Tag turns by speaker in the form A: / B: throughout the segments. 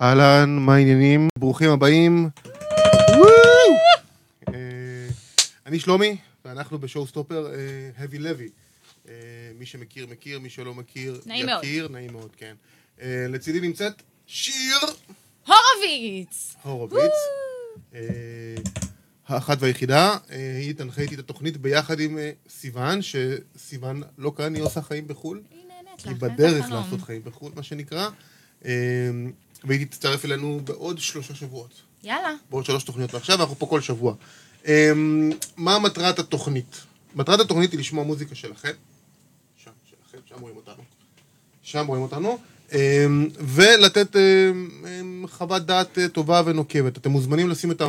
A: אהלן, מה העניינים? ברוכים הבאים. אה, אני שלומי, ואנחנו בשואו סטופר, האבי לוי. אה, מי שמכיר, מכיר, מי שלא מכיר,
B: נעים מאוד.
A: יכיר, נעים מאוד, כן. אה, לצידי נמצאת שיר
B: הורוביץ!
A: הורוביץ, אה, האחת והיחידה. אה, היא תנחה איתי את התוכנית ביחד עם אה, סיוון, שסיוון לא כאן, היא עושה חיים בחו"ל.
B: היא נהנית
A: היא
B: לך, אין
A: בדרך
B: חלום.
A: לעשות חיים בחו"ל, מה שנקרא. אה, והיא תצטרף אלינו בעוד שלושה שבועות.
B: יאללה.
A: בעוד שלוש תוכניות מעכשיו, אנחנו פה כל שבוע. אמ, מה מטרת התוכנית? מטרת התוכנית היא לשמוע מוזיקה שלכם. שם, שלכם, שם רואים אותנו. שם רואים אותנו. אמ, ולתת אמ, אמ, חוות דעת אה, טובה ונוקבת. אתם מוזמנים לשים את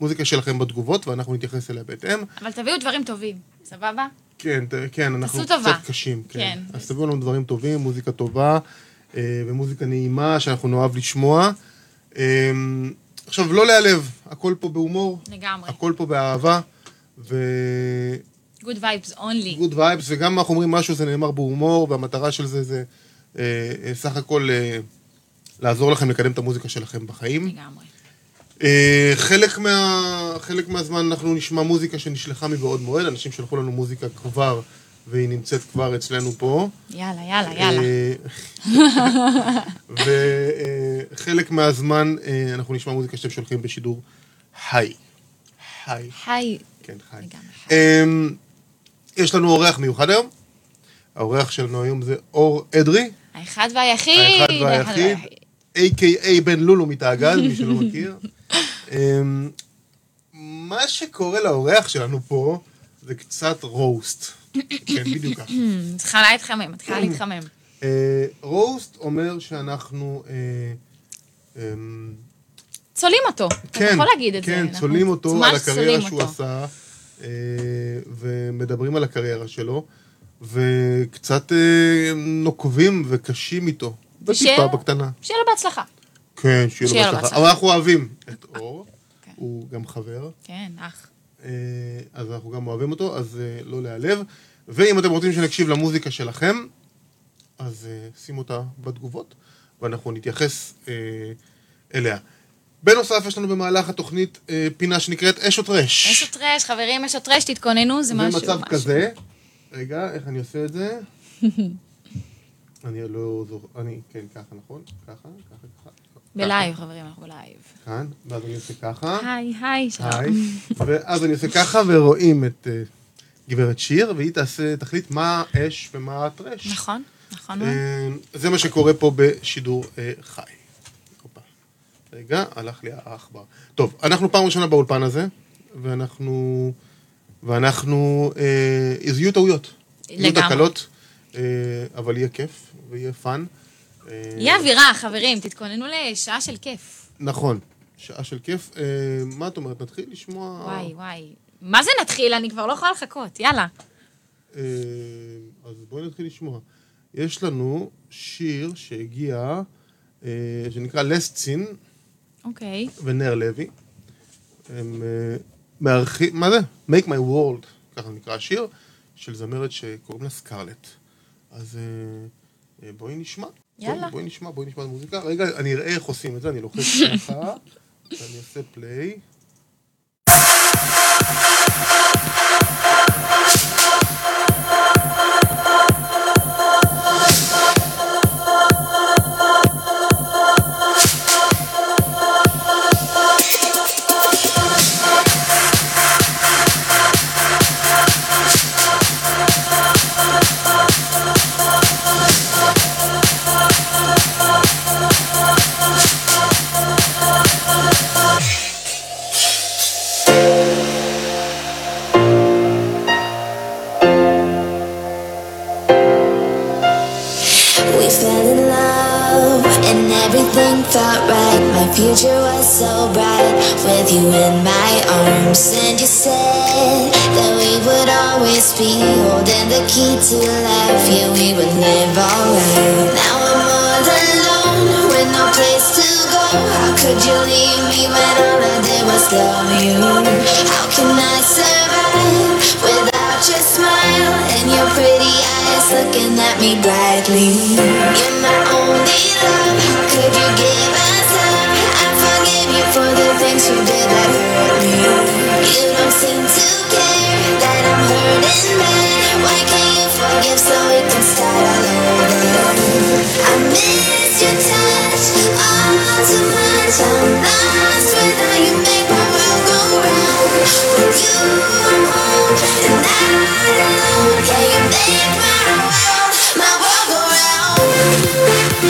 A: המוזיקה שלכם בתגובות, ואנחנו נתייחס אליה בהתאם.
B: אבל תביאו דברים טובים, סבבה?
A: כן, ת- כן, אנחנו
B: תעשו טובה.
A: קצת קשים. כן.
B: כן.
A: אז תביאו לנו דברים טובים, מוזיקה טובה אה, ומוזיקה נעימה שאנחנו נאהב לשמוע. אמ, עכשיו, לא להיעלב, הכל פה בהומור.
B: לגמרי.
A: הכל פה באהבה, ו-good
B: Good vibes only.
A: vibes, וגם אם אנחנו אומרים משהו זה נאמר בהומור, והמטרה של זה זה אה, אה, סך הכל אה, לעזור לכם לקדם את המוזיקה שלכם בחיים.
B: לגמרי.
A: אה, חלק, מה, חלק מהזמן אנחנו נשמע מוזיקה שנשלחה מבעוד מועד, אנשים שלחו לנו מוזיקה כבר, והיא נמצאת כבר אצלנו פה.
B: יאללה, יאללה, יאללה.
A: אה, וחלק אה, מהזמן אה, אנחנו נשמע מוזיקה שאתם שולחים בשידור חי. חי.
B: היי.
A: כן, חי.
B: לגמרי חי.
A: אמ, יש לנו אורח מיוחד היום. האורח שלנו היום זה אור אדרי,
B: האחד והיחיד.
A: האחד והיחיד, A.K.A. בן לולו מתאגל, מי שלא מכיר. אמ, מה שקורה לאורח שלנו פה זה קצת רוסט. כן, בדיוק ככה.
B: Hmm, צריכה להתחמם,
A: כן.
B: מתחילה להתחמם.
A: אה, רוסט אומר שאנחנו... אה, אמ,
B: צולים אותו. אתה יכול להגיד את זה.
A: כן,
B: אנחנו
A: צולעים אותו
B: ממש
A: על הקריירה
B: צולעים
A: שהוא
B: אותו.
A: עשה, אה, ומדברים על הקריירה שלו, וקצת אה, נוקבים וקשים איתו.
B: ושיהיה-
A: וטיפה בקטנה.
B: שיהיה לו בהצלחה.
A: כן, שיהיה לו בהצלחה. אבל אנחנו אוהבים את אור,
B: כן.
A: הוא גם חבר,
B: כן, אח.
A: אה, אז אנחנו גם אוהבים אותו, אז אה, לא להיעלב. ואם אתם רוצים שנקשיב למוזיקה שלכם, אז אה, שימו אותה בתגובות, ואנחנו נתייחס אה, אליה. בנוסף, יש לנו במהלך התוכנית אה, פינה שנקראת אש או טרש.
B: אש או טרש, חברים, אש או טרש, תתכוננו, זה משהו.
A: זה מצב
B: משהו.
A: כזה. רגע, איך אני עושה את זה? אני לא זוכר, אני, כן, ככה, נכון? ככה, ככה, ככה.
B: בלייב, חברים, אנחנו בלייב.
A: כאן, ואז אני עושה ככה.
B: היי, היי, שלום.
A: אה? היי. ואז אני עושה ככה, ורואים את אה, גברת שיר, והיא תעשה, תחליט מה האש ומה הטרש.
B: נכון, נכון מאוד.
A: אה, זה מה שקורה פה בשידור אה, חי. הופה. רגע, הלך לי העכבר. טוב, אנחנו פעם ראשונה באולפן הזה, ואנחנו... ואנחנו... אה, אז יהיו טעויות. יהיו
B: לגמרי.
A: תקלות, אה, אבל יהיה כיף, ויהיה פאן. אה,
B: יהיה אווירה, חברים, תתכוננו לשעה של כיף.
A: נכון. שעה של כיף. אה, מה את אומרת? נתחיל לשמוע...
B: וואי, וואי. מה זה נתחיל? אני כבר לא יכולה לחכות, יאללה.
A: אה, אז בואי נתחיל לשמוע. יש לנו שיר שהגיע, אה, שנקרא לסצין,
B: אוקיי.
A: ונר לוי. הם אה, מארחים, מה זה? Make my world, ככה נקרא השיר, של זמרת שקוראים לה סקרלט. אז אה, אה, בואי נשמע.
B: יאללה.
A: בואי, בואי נשמע, בואי נשמע את המוזיקה. רגע, אני אראה איך עושים את זה, אני לוחץ ככה, ואני עושה פליי.
C: We fell in love and everything felt right. My future was so bright with you in my arms. And you said that we would always be holding the key to life. Yeah, we would live alright. Now I'm all alone with no place to go. How could you leave me when all I did was love you? How can I survive without your smile and your pretty eyes looking at me brightly? You're my only love. How could you give us up? start all over. I miss your touch, all too much. I'm lost without you. Make my world go round. When you are home and not alone, yeah, you make my world, my world go round.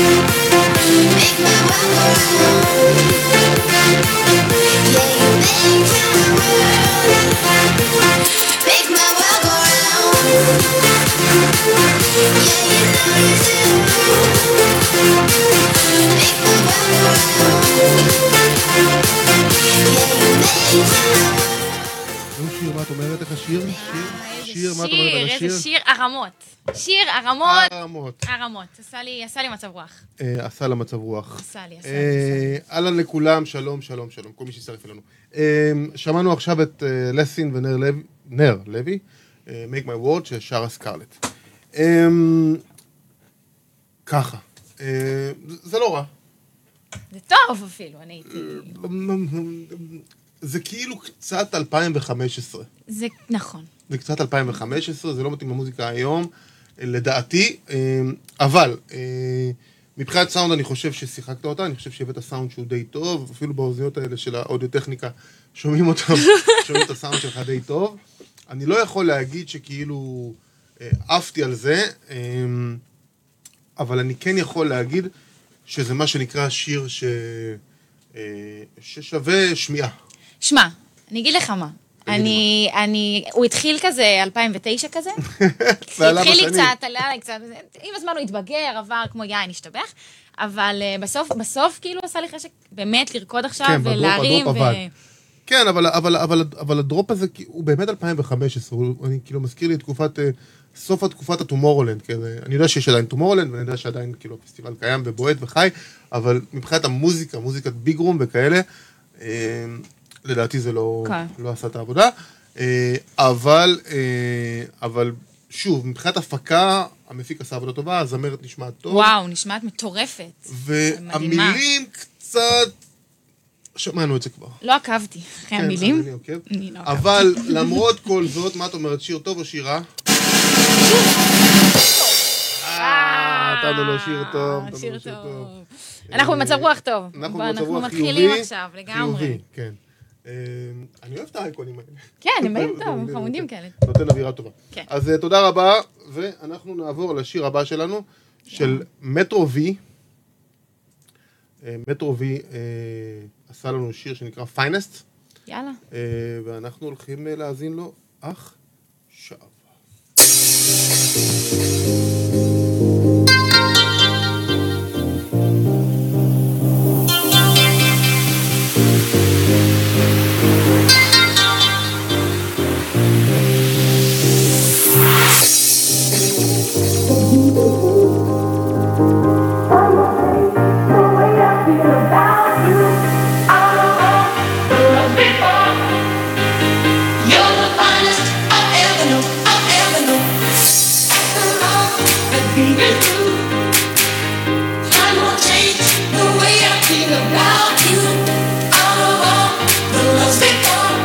C: Make my world go round. Yeah, you make my world, make my world go round. Yeah, you know you do. Make my world go round. Yeah, you
A: נו,
C: make my world.
A: שיר, מה את אומרת? איך השיר? שיר, שיר, מה את אומרת על
B: שיר,
A: השיר? אה.
B: איזה שיר, ערמות. שיר, ערמות,
A: הרמות.
B: ערמות. עשה לי, עשה לי מצב רוח.
A: אה, עשה לה מצב רוח.
B: עשה לי, עשה לי,
A: אה, אהלן לכולם, שלום, שלום, שלום, כל מי שהצטרף אלינו. אה, שמענו עכשיו את אה, לסין ונר לוי, נר לוי, אה, Make My Word, ששרה סקרלט. אה, ככה, אה, זה- זה לא רע.
B: זה טוב אפילו, אני הייתי...
A: זה כאילו קצת 2015.
B: זה נכון.
A: זה קצת 2015, זה לא מתאים למוזיקה היום, לדעתי, אה, אבל אה, מבחינת סאונד אני חושב ששיחקת אותה, אני חושב שהבאת סאונד שהוא די טוב, אפילו באוזניות האלה של האודיוטכניקה שומעים אותם, שומעים את הסאונד שלך די טוב. אני לא יכול להגיד שכאילו אה, עפתי על זה, אה, אבל אני כן יכול להגיד שזה מה שנקרא שיר ש... אה, ששווה שמיעה.
B: שמע, אני אגיד לך מה. אני, אני, הוא התחיל כזה, 2009 כזה.
A: זה עלה
B: התחיל לי
A: בשנים.
B: קצת, עלה לי קצת, עם הזמן הוא התבגר, עבר כמו יין, השתבח, אבל אה, בסוף, בסוף כאילו עשה לי חשק באמת לרקוד עכשיו אה,
A: כן, בדרופ,
B: ולהרים.
A: הדרופ
B: ו-
A: עבד. כן, אבל, אבל, אבל, אבל הדרופ הזה, כי- הוא באמת 2015, הוא, אני כאילו מזכיר לי את תקופת, אה, סוף התקופת הטומורלנד, כזה. אני יודע שיש עדיין טומורלנד, ואני יודע שעדיין כאילו הפסטיבל קיים ובועט וחי, אבל מבחינת המוזיקה, מוזיקת ביג רום וכאלה, אה, לדעתי זה לא,
B: כן.
A: לא עשה את העבודה, אה, אבל, אה, אבל שוב, מבחינת הפקה, המפיק עשה עבודה טובה, הזמרת נשמעת טוב.
B: וואו, נשמעת מטורפת. מדהימה.
A: והמילים קצת... שמענו את זה כבר.
B: לא עקבתי אחרי
A: כן,
B: המילים.
A: אז אני עוקב.
B: אני לא עוקבת.
A: אבל למרות כל זאת, מה את אומרת, שיר טוב או שיר רע? אה, נתנו לו שיר טוב. נתנו לו
B: אה, שיר טוב. אנחנו במצב רוח טוב.
A: אנחנו
B: בוא,
A: במצב רוח חיובי.
B: מתחילים עכשיו, לגמרי.
A: חיובי, כן. אה, אני אוהב את האייקונים האלה.
B: כן, הם באים
A: זה
B: טוב,
A: מדהים,
B: חמודים
A: כן.
B: כאלה.
A: נותן אווירה טובה.
B: כן.
A: אז אה, תודה רבה, ואנחנו נעבור לשיר הבא שלנו, של מטרו וי. אה, מטרו וי אה, עשה לנו שיר שנקרא פיינס.
B: יאללה.
A: אה, ואנחנו הולכים אה, להאזין לו עכשיו.
C: You're the finest I ever know, I ever know. After all that we've been through, time will change the way I feel about you. Out of all the loves before,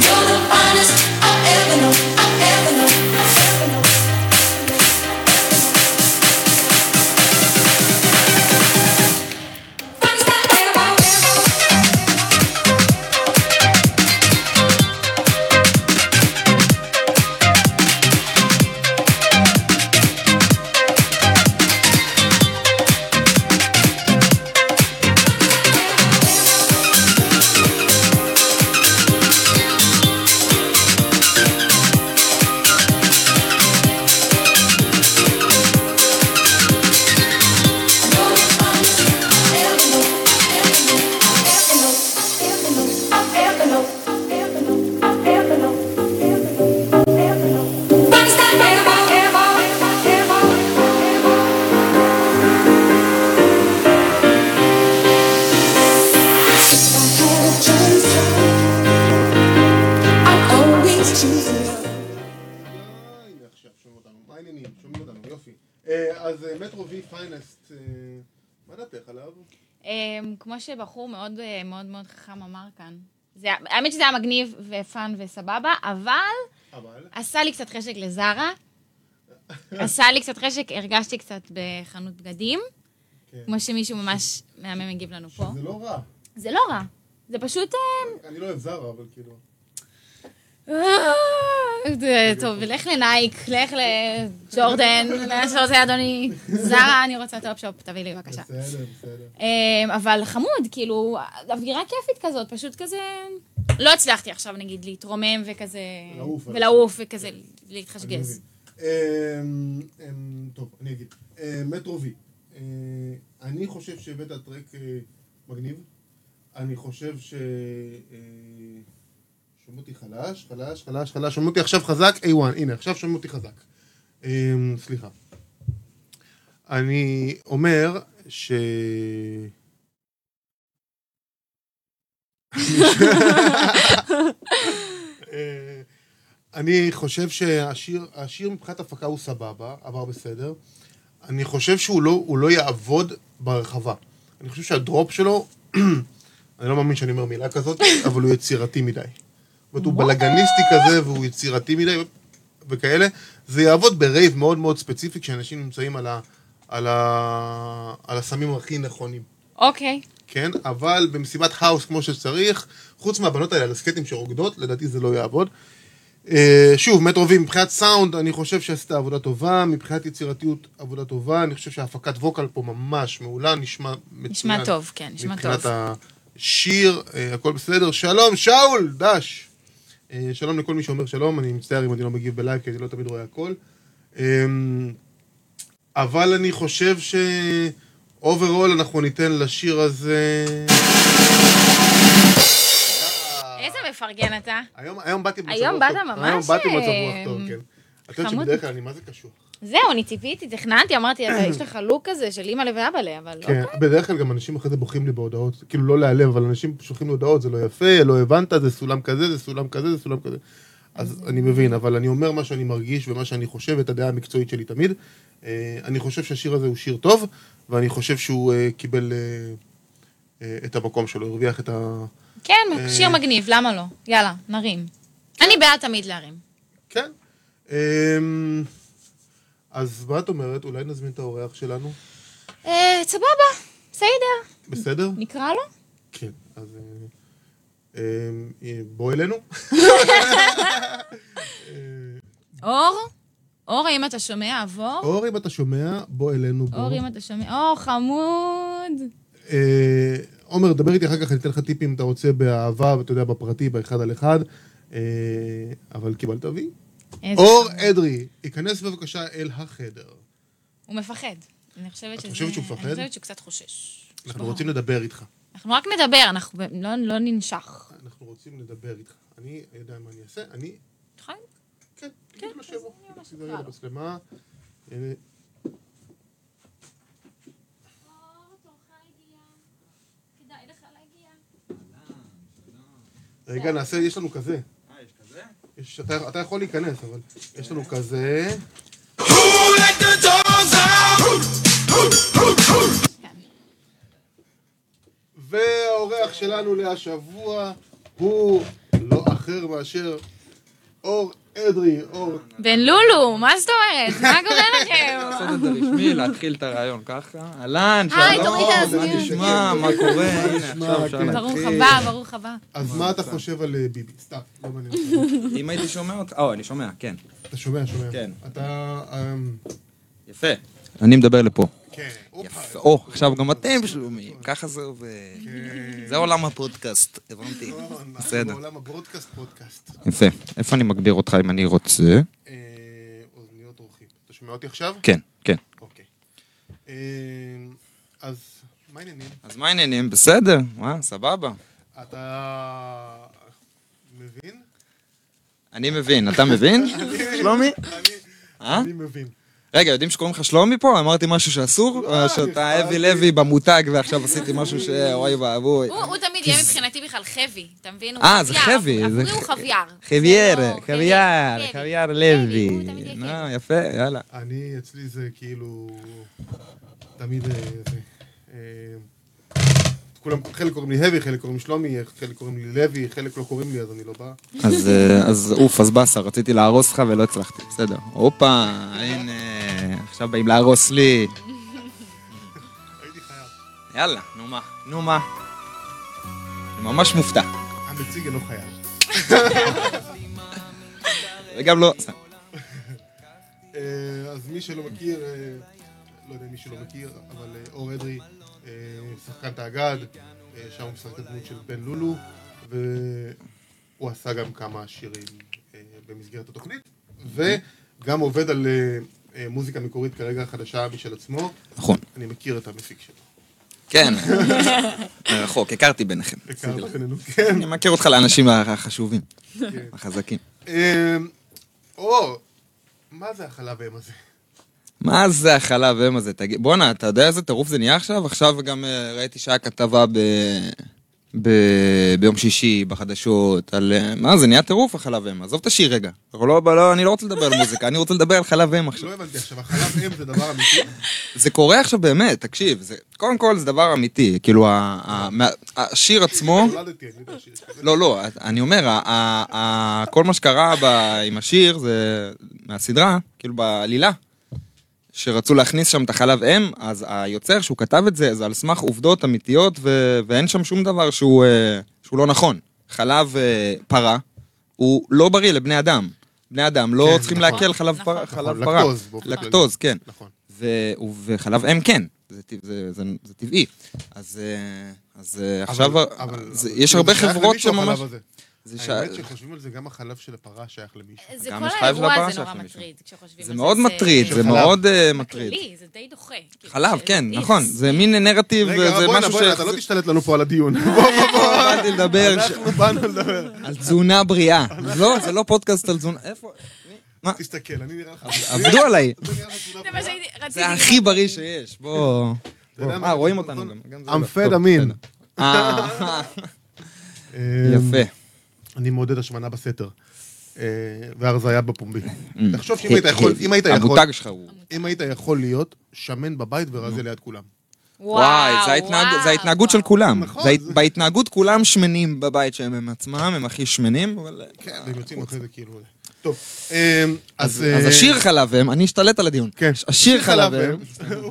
C: you're the finest I ever know, I ever know, I ever know. Finest I ever, ever.
A: הנה עכשיו, שומעים אותנו. מה העניינים? שומעים אותנו, יופי. אה, אז אה, מטרו וי פיינס, אה, מה דעתך עליו?
B: אמ, כמו שבחור מאוד אה, מאוד מאוד חכם אמר כאן, זה, היה- האמת שזה היה מגניב ופאן וסבבה, אבל
A: אבל...
B: עשה לי קצת חשק לזרה. עשה לי קצת חשק, הרגשתי קצת בחנות בגדים,
A: כן.
B: כמו שמישהו ממש מהמם הגיב לנו פה.
A: זה לא רע.
B: זה לא רע, זה פשוט... אה,
A: אני לא אוהב זרה, אבל כאילו...
B: אה, זה- טוב, לך לנייק, לך לג'ורדן, מה שאתה רוצה, אדוני. זרה, אני רוצה טופ-שופ, תביא לי בבקשה.
A: בסדר, בסדר.
B: אמ, אבל חמוד, כאילו, אווירה כיפית כזאת, פשוט כזה... לא הצלחתי עכשיו, נגיד, להתרומם וכזה...
A: ולעוף.
B: ולעוף, וכזה
A: אני
B: להתחשגז.
A: מבין. אמ, אמ, טוב, אני אגיד. אמ, מטרו V. אה, אני חושב שהבאת טרק אה, מגניב. אני חושב ש... אה, שומעים אותי חלש, חלש, חלש, חלש. שומעים אותי עכשיו חזק, A1. הנה, עכשיו שומעים אותי חזק. אמ, סליחה. אני אומר ש... אה, אני חושב שהשיר השיר מבחינת הפקה הוא סבבה, עבר בסדר. אני חושב שהוא לא, הוא לא יעבוד ברחבה. אני חושב שהדרופ שלו, אני לא מאמין שאני אומר מילה כזאת, אבל הוא יצירתי מדי. זאת אומרת, הוא בלאגניסטי כזה, והוא יצירתי מדי, וכאלה. זה יעבוד ברייב מאוד מאוד ספציפי, כשאנשים נמצאים על, ה, על, ה, על הסמים הכי נכונים.
B: אוקיי.
A: כן? אבל במסיבת האוס כמו שצריך, חוץ מהבנות האלה על הסקטים שרוקדות, לדעתי זה לא יעבוד. אה, שוב, מטרו V מבחינת סאונד, אני חושב שעשית עבודה טובה, מבחינת יצירתיות עבודה טובה, אני חושב שההפקת ווקל פה ממש מעולה, נשמע מצוין.
B: נשמע טוב, כן, נשמע
A: מבחינת
B: טוב.
A: השיר, אה, הכל בסדר. שלום, שאול, דש. אה, שלום לכל מי שאומר שלום, אני מצטער אם אני לא מגיב בלייב, כי אני לא תמיד רואה הכל. אמ, אבל אני חושב ש... אוברול אנחנו ניתן לשיר הזה...
B: איזה מפרגן אתה?
A: היום, היום באתי במצב
B: היום
A: רוח
B: באת
A: טוב.
B: ממש,
A: היום באתי במצב
B: אה,
A: רוח טוב, כן. את יודעת
B: חמוד.
A: שבדרך כלל אני מה זה קשוח.
B: זהו, אני ציפיתי, תכננתי, אמרתי, אתה, יש לך לוק כזה של אימא לב ואבא לב, אבל לא.
A: כן, בדרך כלל גם אנשים אחרי זה בוכים לי בהודעות, כאילו לא להיעלב, אבל אנשים שולחים לי הודעות, זה לא יפה, לא הבנת, זה סולם כזה, זה סולם כזה, זה סולם כזה. אז אני מבין, אבל אני אומר מה שאני מרגיש ומה שאני חושב, את הדעה המקצועית שלי תמיד. אה, אני חושב שהשיר הזה הוא שיר טוב, ואני חושב שהוא אה, קיבל אה, אה, את המקום שלו, הרוויח את ה... אה.
B: כן, שיר מגניב, למה לא? יאללה, נרים. אני בעד תמיד להרים.
A: כן. אמ, אז מה את אומרת? אולי נזמין את האורח שלנו?
B: אה, סבבה, בסדר.
A: בסדר?
B: נקרא לו?
A: כן. אז אה, אמ, אה, בוא אלינו.
B: אור? אור, האם אתה שומע, עבור?
A: אור, אם אתה שומע, בוא אלינו. בוא.
B: אור, אם אתה שומע... אור, חמוד.
A: אה, עומר, דבר איתי אחר כך, אני אתן לך טיפים אם אתה רוצה באהבה, ואתה יודע, בפרטי, באחד על אחד. אה, אבל קיבלת וי.
B: איזה
A: אור
B: חמוד.
A: אדרי, היכנס בבקשה אל החדר.
B: הוא מפחד. אני חושבת שזה...
A: חושבת שהוא מפחד?
B: אני חושבת שהוא קצת חושש.
A: אנחנו רוצים לדבר איתך.
B: אנחנו רק נדבר, אנחנו ב- לא- לא ננשך.
A: אנחנו רוצים לדבר איתך. אני יודע מה אני אעשה, אני
B: נכון?
A: כן, כן, לשבע. זה יהיה למצלמה. הנה. רגע, נעשה, יש לנו כזה.
D: אה, יש כזה?
A: יש, אתה, אתה יכול להיכנס, אבל יש לנו כזה. והאורח שלנו להשבוע הוא לא אחר מאשר אור אדרי, אור
B: בן לולו, מה זאת אומרת? מה קורה לכם?
D: לעשות את זה רשמי, להתחיל את הרעיון ככה. אהלן, שלום.
B: היי, תוריד את האוזניות.
D: מה נשמע, מה קורה? הנה,
A: נשמע,
D: עכשיו אפשר
A: כן.
D: להתחיל.
B: ברוך הבא, ברוך הבא.
A: אז מה אתה חושב על אה, ביבי? סתם, לא מעניין. אותי.
D: אם הייתי שומע אותך, או, אני שומע, כן.
A: אתה שומע, שומע.
D: כן.
A: אתה... אמ,
D: יפה. אני מדבר לפה.
A: כן. הופה.
D: יפה. או, עכשיו גם אתם שלומים. ככה זה עובד.
B: כן.
D: זה עולם הפודקאסט, הבנתי.
A: לא, אנחנו
D: בסדר.
A: בעולם הברודקאסט פודקאסט.
D: יפה. איפה אני מגביר אותך אם אני רוצה?
A: אה, אוזניות אורחים. אתה שומע אותי עכשיו?
D: כן, כן.
A: אוקיי. אה, אז מה העניינים?
D: אז מה העניינים? בסדר, מה, סבבה.
A: אתה מבין?
D: אני מבין, אתה מבין? שלומי? אה?
A: אני מבין.
D: רגע, יודעים שקוראים לך שלומי פה? אמרתי משהו שאסור? או שאתה אבי לוי במותג ועכשיו עשיתי משהו ש... אוי ואבוי.
B: הוא הוא תמיד יהיה מבחינתי בכלל חבי, אתה מבין? הוא
D: אה, זה
B: חבייר,
D: חבי,
B: עבורי
D: זה
B: הוא
D: ח-
B: חבייר.
D: חבייר,
B: זה לא-
D: חבייר,
B: חבי,
D: חבייר
B: חבי,
D: לוי.
B: הוא תמיד יהיה
D: נו,
B: חבי.
D: אה, יפה, יאללה.
A: אני, אצלי זה כאילו... תמיד... אה, זה, אה, כולם, חלק קוראים לי הבי, חלק קוראים לי שלומי, חלק קוראים לי לוי, חלק לא קוראים לי אז אני לא בא.
D: אז אה, אז אוף, אז באסה, רציתי להרוס לך ולא הצלחתי, בסדר. הופה, הנה, עכשיו באים להרוס לי.
A: הייתי חייב.
D: יאללה, נו מה. נו מה. אני ממש מופתע.
A: המציג אינו חייב.
D: וגם לא... סתם.
A: אה, אז מי שלא מכיר, אה, לא יודע אם מישהו לא מכיר, אבל אה, אור אדרי, אה, שחקן תאגד, אה, שם הוא משחק את הדמות של בן לולו, והוא עשה גם כמה שירים אה, במסגרת התוכנית, וגם עובד על אה, אה, מוזיקה מקורית כרגע חדשה משל עצמו,
D: נכון.
A: אני מכיר את המפיק שלו.
D: כן. רחוק, הכרתי ביניכם.
A: הכרת בינינו, כן.
D: אני מכיר אותך לאנשים החשובים,
A: כן.
D: החזקים.
A: אה, אור, מה זה החלב אם הזה?
D: מה זה החלב אם הזה? תגיד, בואנה, אתה יודע איזה טירוף זה נהיה עכשיו? עכשיו גם אה, ראיתי שהיה כתבה ב... ב... ביום שישי בחדשות על... אה, מה, זה נהיה טירוף החלב אם. עזוב את השיר רגע. אנחנו לא, לא, אני לא רוצה לדבר על מוזיקה, אני רוצה לדבר על חלב אם עכשיו.
A: לא הבנתי עכשיו, החלב אם זה דבר אמיתי?
D: זה קורה עכשיו באמת, תקשיב. זה... קודם כל זה דבר אמיתי. כאילו, ה... ה... מה- השיר עצמו...
A: נולדתי, אני יודע שיש כזה.
D: לא, לא, אני אומר, ה- ה- ה- כל מה שקרה ב- עם השיר זה מהסדרה, כאילו בעלילה, שרצו להכניס שם את החלב אם, אז היוצר שהוא כתב את זה, זה על סמך עובדות אמיתיות, ו- ואין שם שום דבר שהוא, אה, שהוא לא נכון. חלב אה, פרה הוא לא בריא לבני אדם. בני אדם לא
A: כן,
D: צריכים
A: נכון,
D: לעכל חלב
B: נכון.
D: פרה. חלב
A: נכון,
D: פרה.
A: לקטוז באופן כללי.
D: לקטוז, כן.
A: נכון.
D: ו- וחלב אם כן, זה, טבע- זה, זה, זה טבעי. אז, אה, אז אה, עכשיו,
A: אבל-
D: זה,
A: אבל-
D: יש
A: כאילו,
D: הרבה
A: זה שייך
D: חברות
A: למישהו,
D: שממש...
A: החלב הזה.
D: זה ש-
A: האמת שחושבים על זה, גם החלב של הפרה שייך למישהו.
B: זה
D: גם
B: כל
D: יש חייב
B: האירוע
D: לבא
B: הזה
D: שלך
B: נורא
D: למישהו.
B: מטריד, כשחושבים על
D: זה מאוד מטריד, זה מאוד אה, מטריד.
B: כללי, זה די דוחה. כאילו,
D: חלב,
B: זה-
D: כן,
B: זה
D: נכון,
B: איפס.
D: זה מין נרטיב,
A: רגע,
D: זה
A: בוא'נה,
D: משהו
A: בוא'נה, אתה לא תשתלט לנו פה על הדיון. בוא, בוא, בוא.
D: באתי לדבר ש-
A: אנחנו באנו לדבר.
D: על תזונה בריאה. לא, זה לא פודקאסט על תזונה, איפה? מה?
A: תסתכל, אני נראה לך...
D: אה, עבדו עליי.
A: אתה נראה לך תעודה
B: זה מה שהייתי, רציתי...
D: זה הכי בריא שיש, בוא.
A: אתה יודע מה?
D: בוא.
A: נכון?
D: אה, רואים אותנו גם. גם זה
A: I'm
D: לא.
A: fed
D: טוב,
A: אמין.
D: בסדר. אה,
A: אה,
D: יפה.
A: אני מעודד השמנה בסתר. אה, והרזיה בפומבי.
D: Mm.
A: תחשוב שאם היית יכול, אם היית יכול,
D: אה, המותג שלך הוא...
A: אם היית יכול להיות שמן בבית ורזה ליד כולם.
D: וואי, זה ההתנהג- זה ההתנהגות של כולם.
A: נכון,
D: זה ההת-
A: זה-
D: בהתנהגות כולם שמנים בבית שהם הם עצמם, הם הכי שמנים, אבל...
A: כן, והם יוצאים אחרי זה כאילו... טוב, אה,
D: אז
A: אז... אה,
D: אז השיר חלב אם, אני אשתלט על הדיון.
A: כן.
D: השיר חלב אה? אם,
A: חלב אם.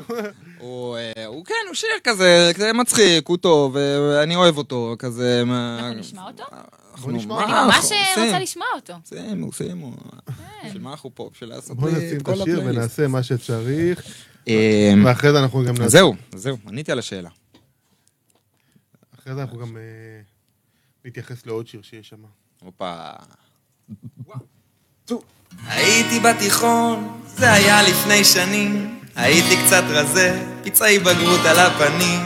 D: הוא, אה, הוא כן, הוא שיר כזה, כזה מצחיק, הוא טוב, אה, אני אוהב אותו, כזה...
B: אנחנו נשמע אותו?
D: אה,
A: בוא נשמע
D: מה
A: אותו.
B: אני
D: אנחנו
B: ממש רוצה
D: עושים?
B: לשמוע כן. אותו.
D: לא שימו, שימו. בשביל מה אנחנו פה? בשביל לעשות
A: בוא
D: אה,
A: נשים את
D: את כל
A: השיר
D: הפלייליסט.
A: ונעשה מה שצריך,
D: אמ,
A: ואחרי זה אנחנו גם
D: אז
A: נעשה...
D: זהו, אז זהו, עניתי על השאלה.
A: אחרי זה אנחנו גם אה, נתייחס לעוד שיר שיש שם.
D: הופה.
E: הייתי בתיכון, זה היה לפני שנים, הייתי קצת רזה, פצעי בגרות על הפנים,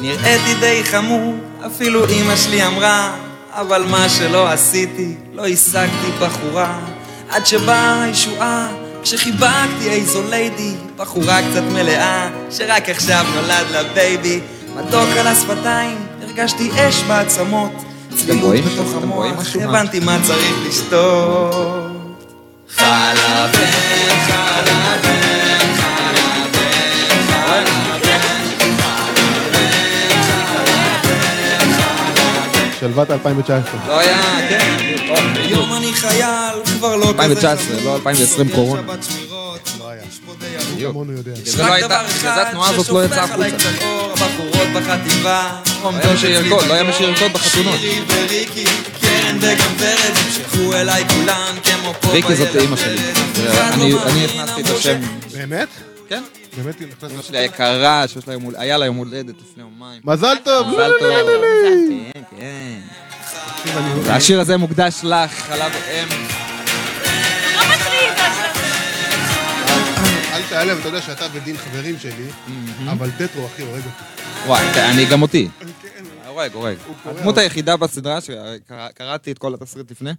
E: נראיתי די חמור, אפילו אמא שלי אמרה, אבל מה שלא עשיתי, לא השגתי בחורה, עד שבאה הישועה, כשחיבקתי איזו ליידי, בחורה קצת מלאה, שרק עכשיו נולד לה בייבי, מתוק על השפתיים, הרגשתי אש בעצמות, צלילות
D: רואים?
E: בתוך
D: אתם רואים
E: המוח,
D: משהו?
E: הבנתי מה צריך לשתות. חלב אם, חלב אם, חלב אם, חלב
A: שלוות 2019.
D: לא היה, כן,
E: אם. היום אני חייל, כבר לא כזה
D: 2019,
E: חמוד.
D: לא 2020 קורונה.
E: סוגר שבת שמירות,
A: לא היה.
E: יש פה די ארוך.
D: בדיוק.
A: כמונו יודע.
D: זה לא הייתה- בגלל זה התנועה הזאת לא יצאה
E: ששופך עליי
D: החוצה.
E: קצת אור, הבחורות בחטיבה עומדות
D: היה מי שירקוד,
E: אצלי
D: לא היה מי
E: בקור.
D: שירקוד בחתונות.
E: שירי וריקי, קרן וגם ורד, נמשכו אליי כולן כמו פה
D: ויקי זאת
E: בילד
D: אימא שלי.
E: ורד.
D: זה- אני-
E: אחד לא
D: אני
E: מאמין,
D: הכנסתי את
E: אמרו
D: השם.
E: ש-
A: באמת?
D: כן.
A: באמת היא נכנסת
D: אמא
A: לשיר.
D: שלי היקרה, שיש לה יום הולדת, היה לה יום הולדת לפני יומיים.
A: מזל טוב!
D: מזל טוב.
B: מזל
D: כן, כן.
A: תקשיב, אני-
D: והשיר כן. הזה מוקדש לך, חלב אם.
B: לא מטריד,
A: אל תיעלב, אתה יודע שאתה ודין חברים שלי, אבל טטרו אחי הורג אותי.
D: וואי, אני גם אותי. הורג, הורג.
A: קורע.
D: הדמות היחידה בסדרה, שקראתי את כל התסריט לפני,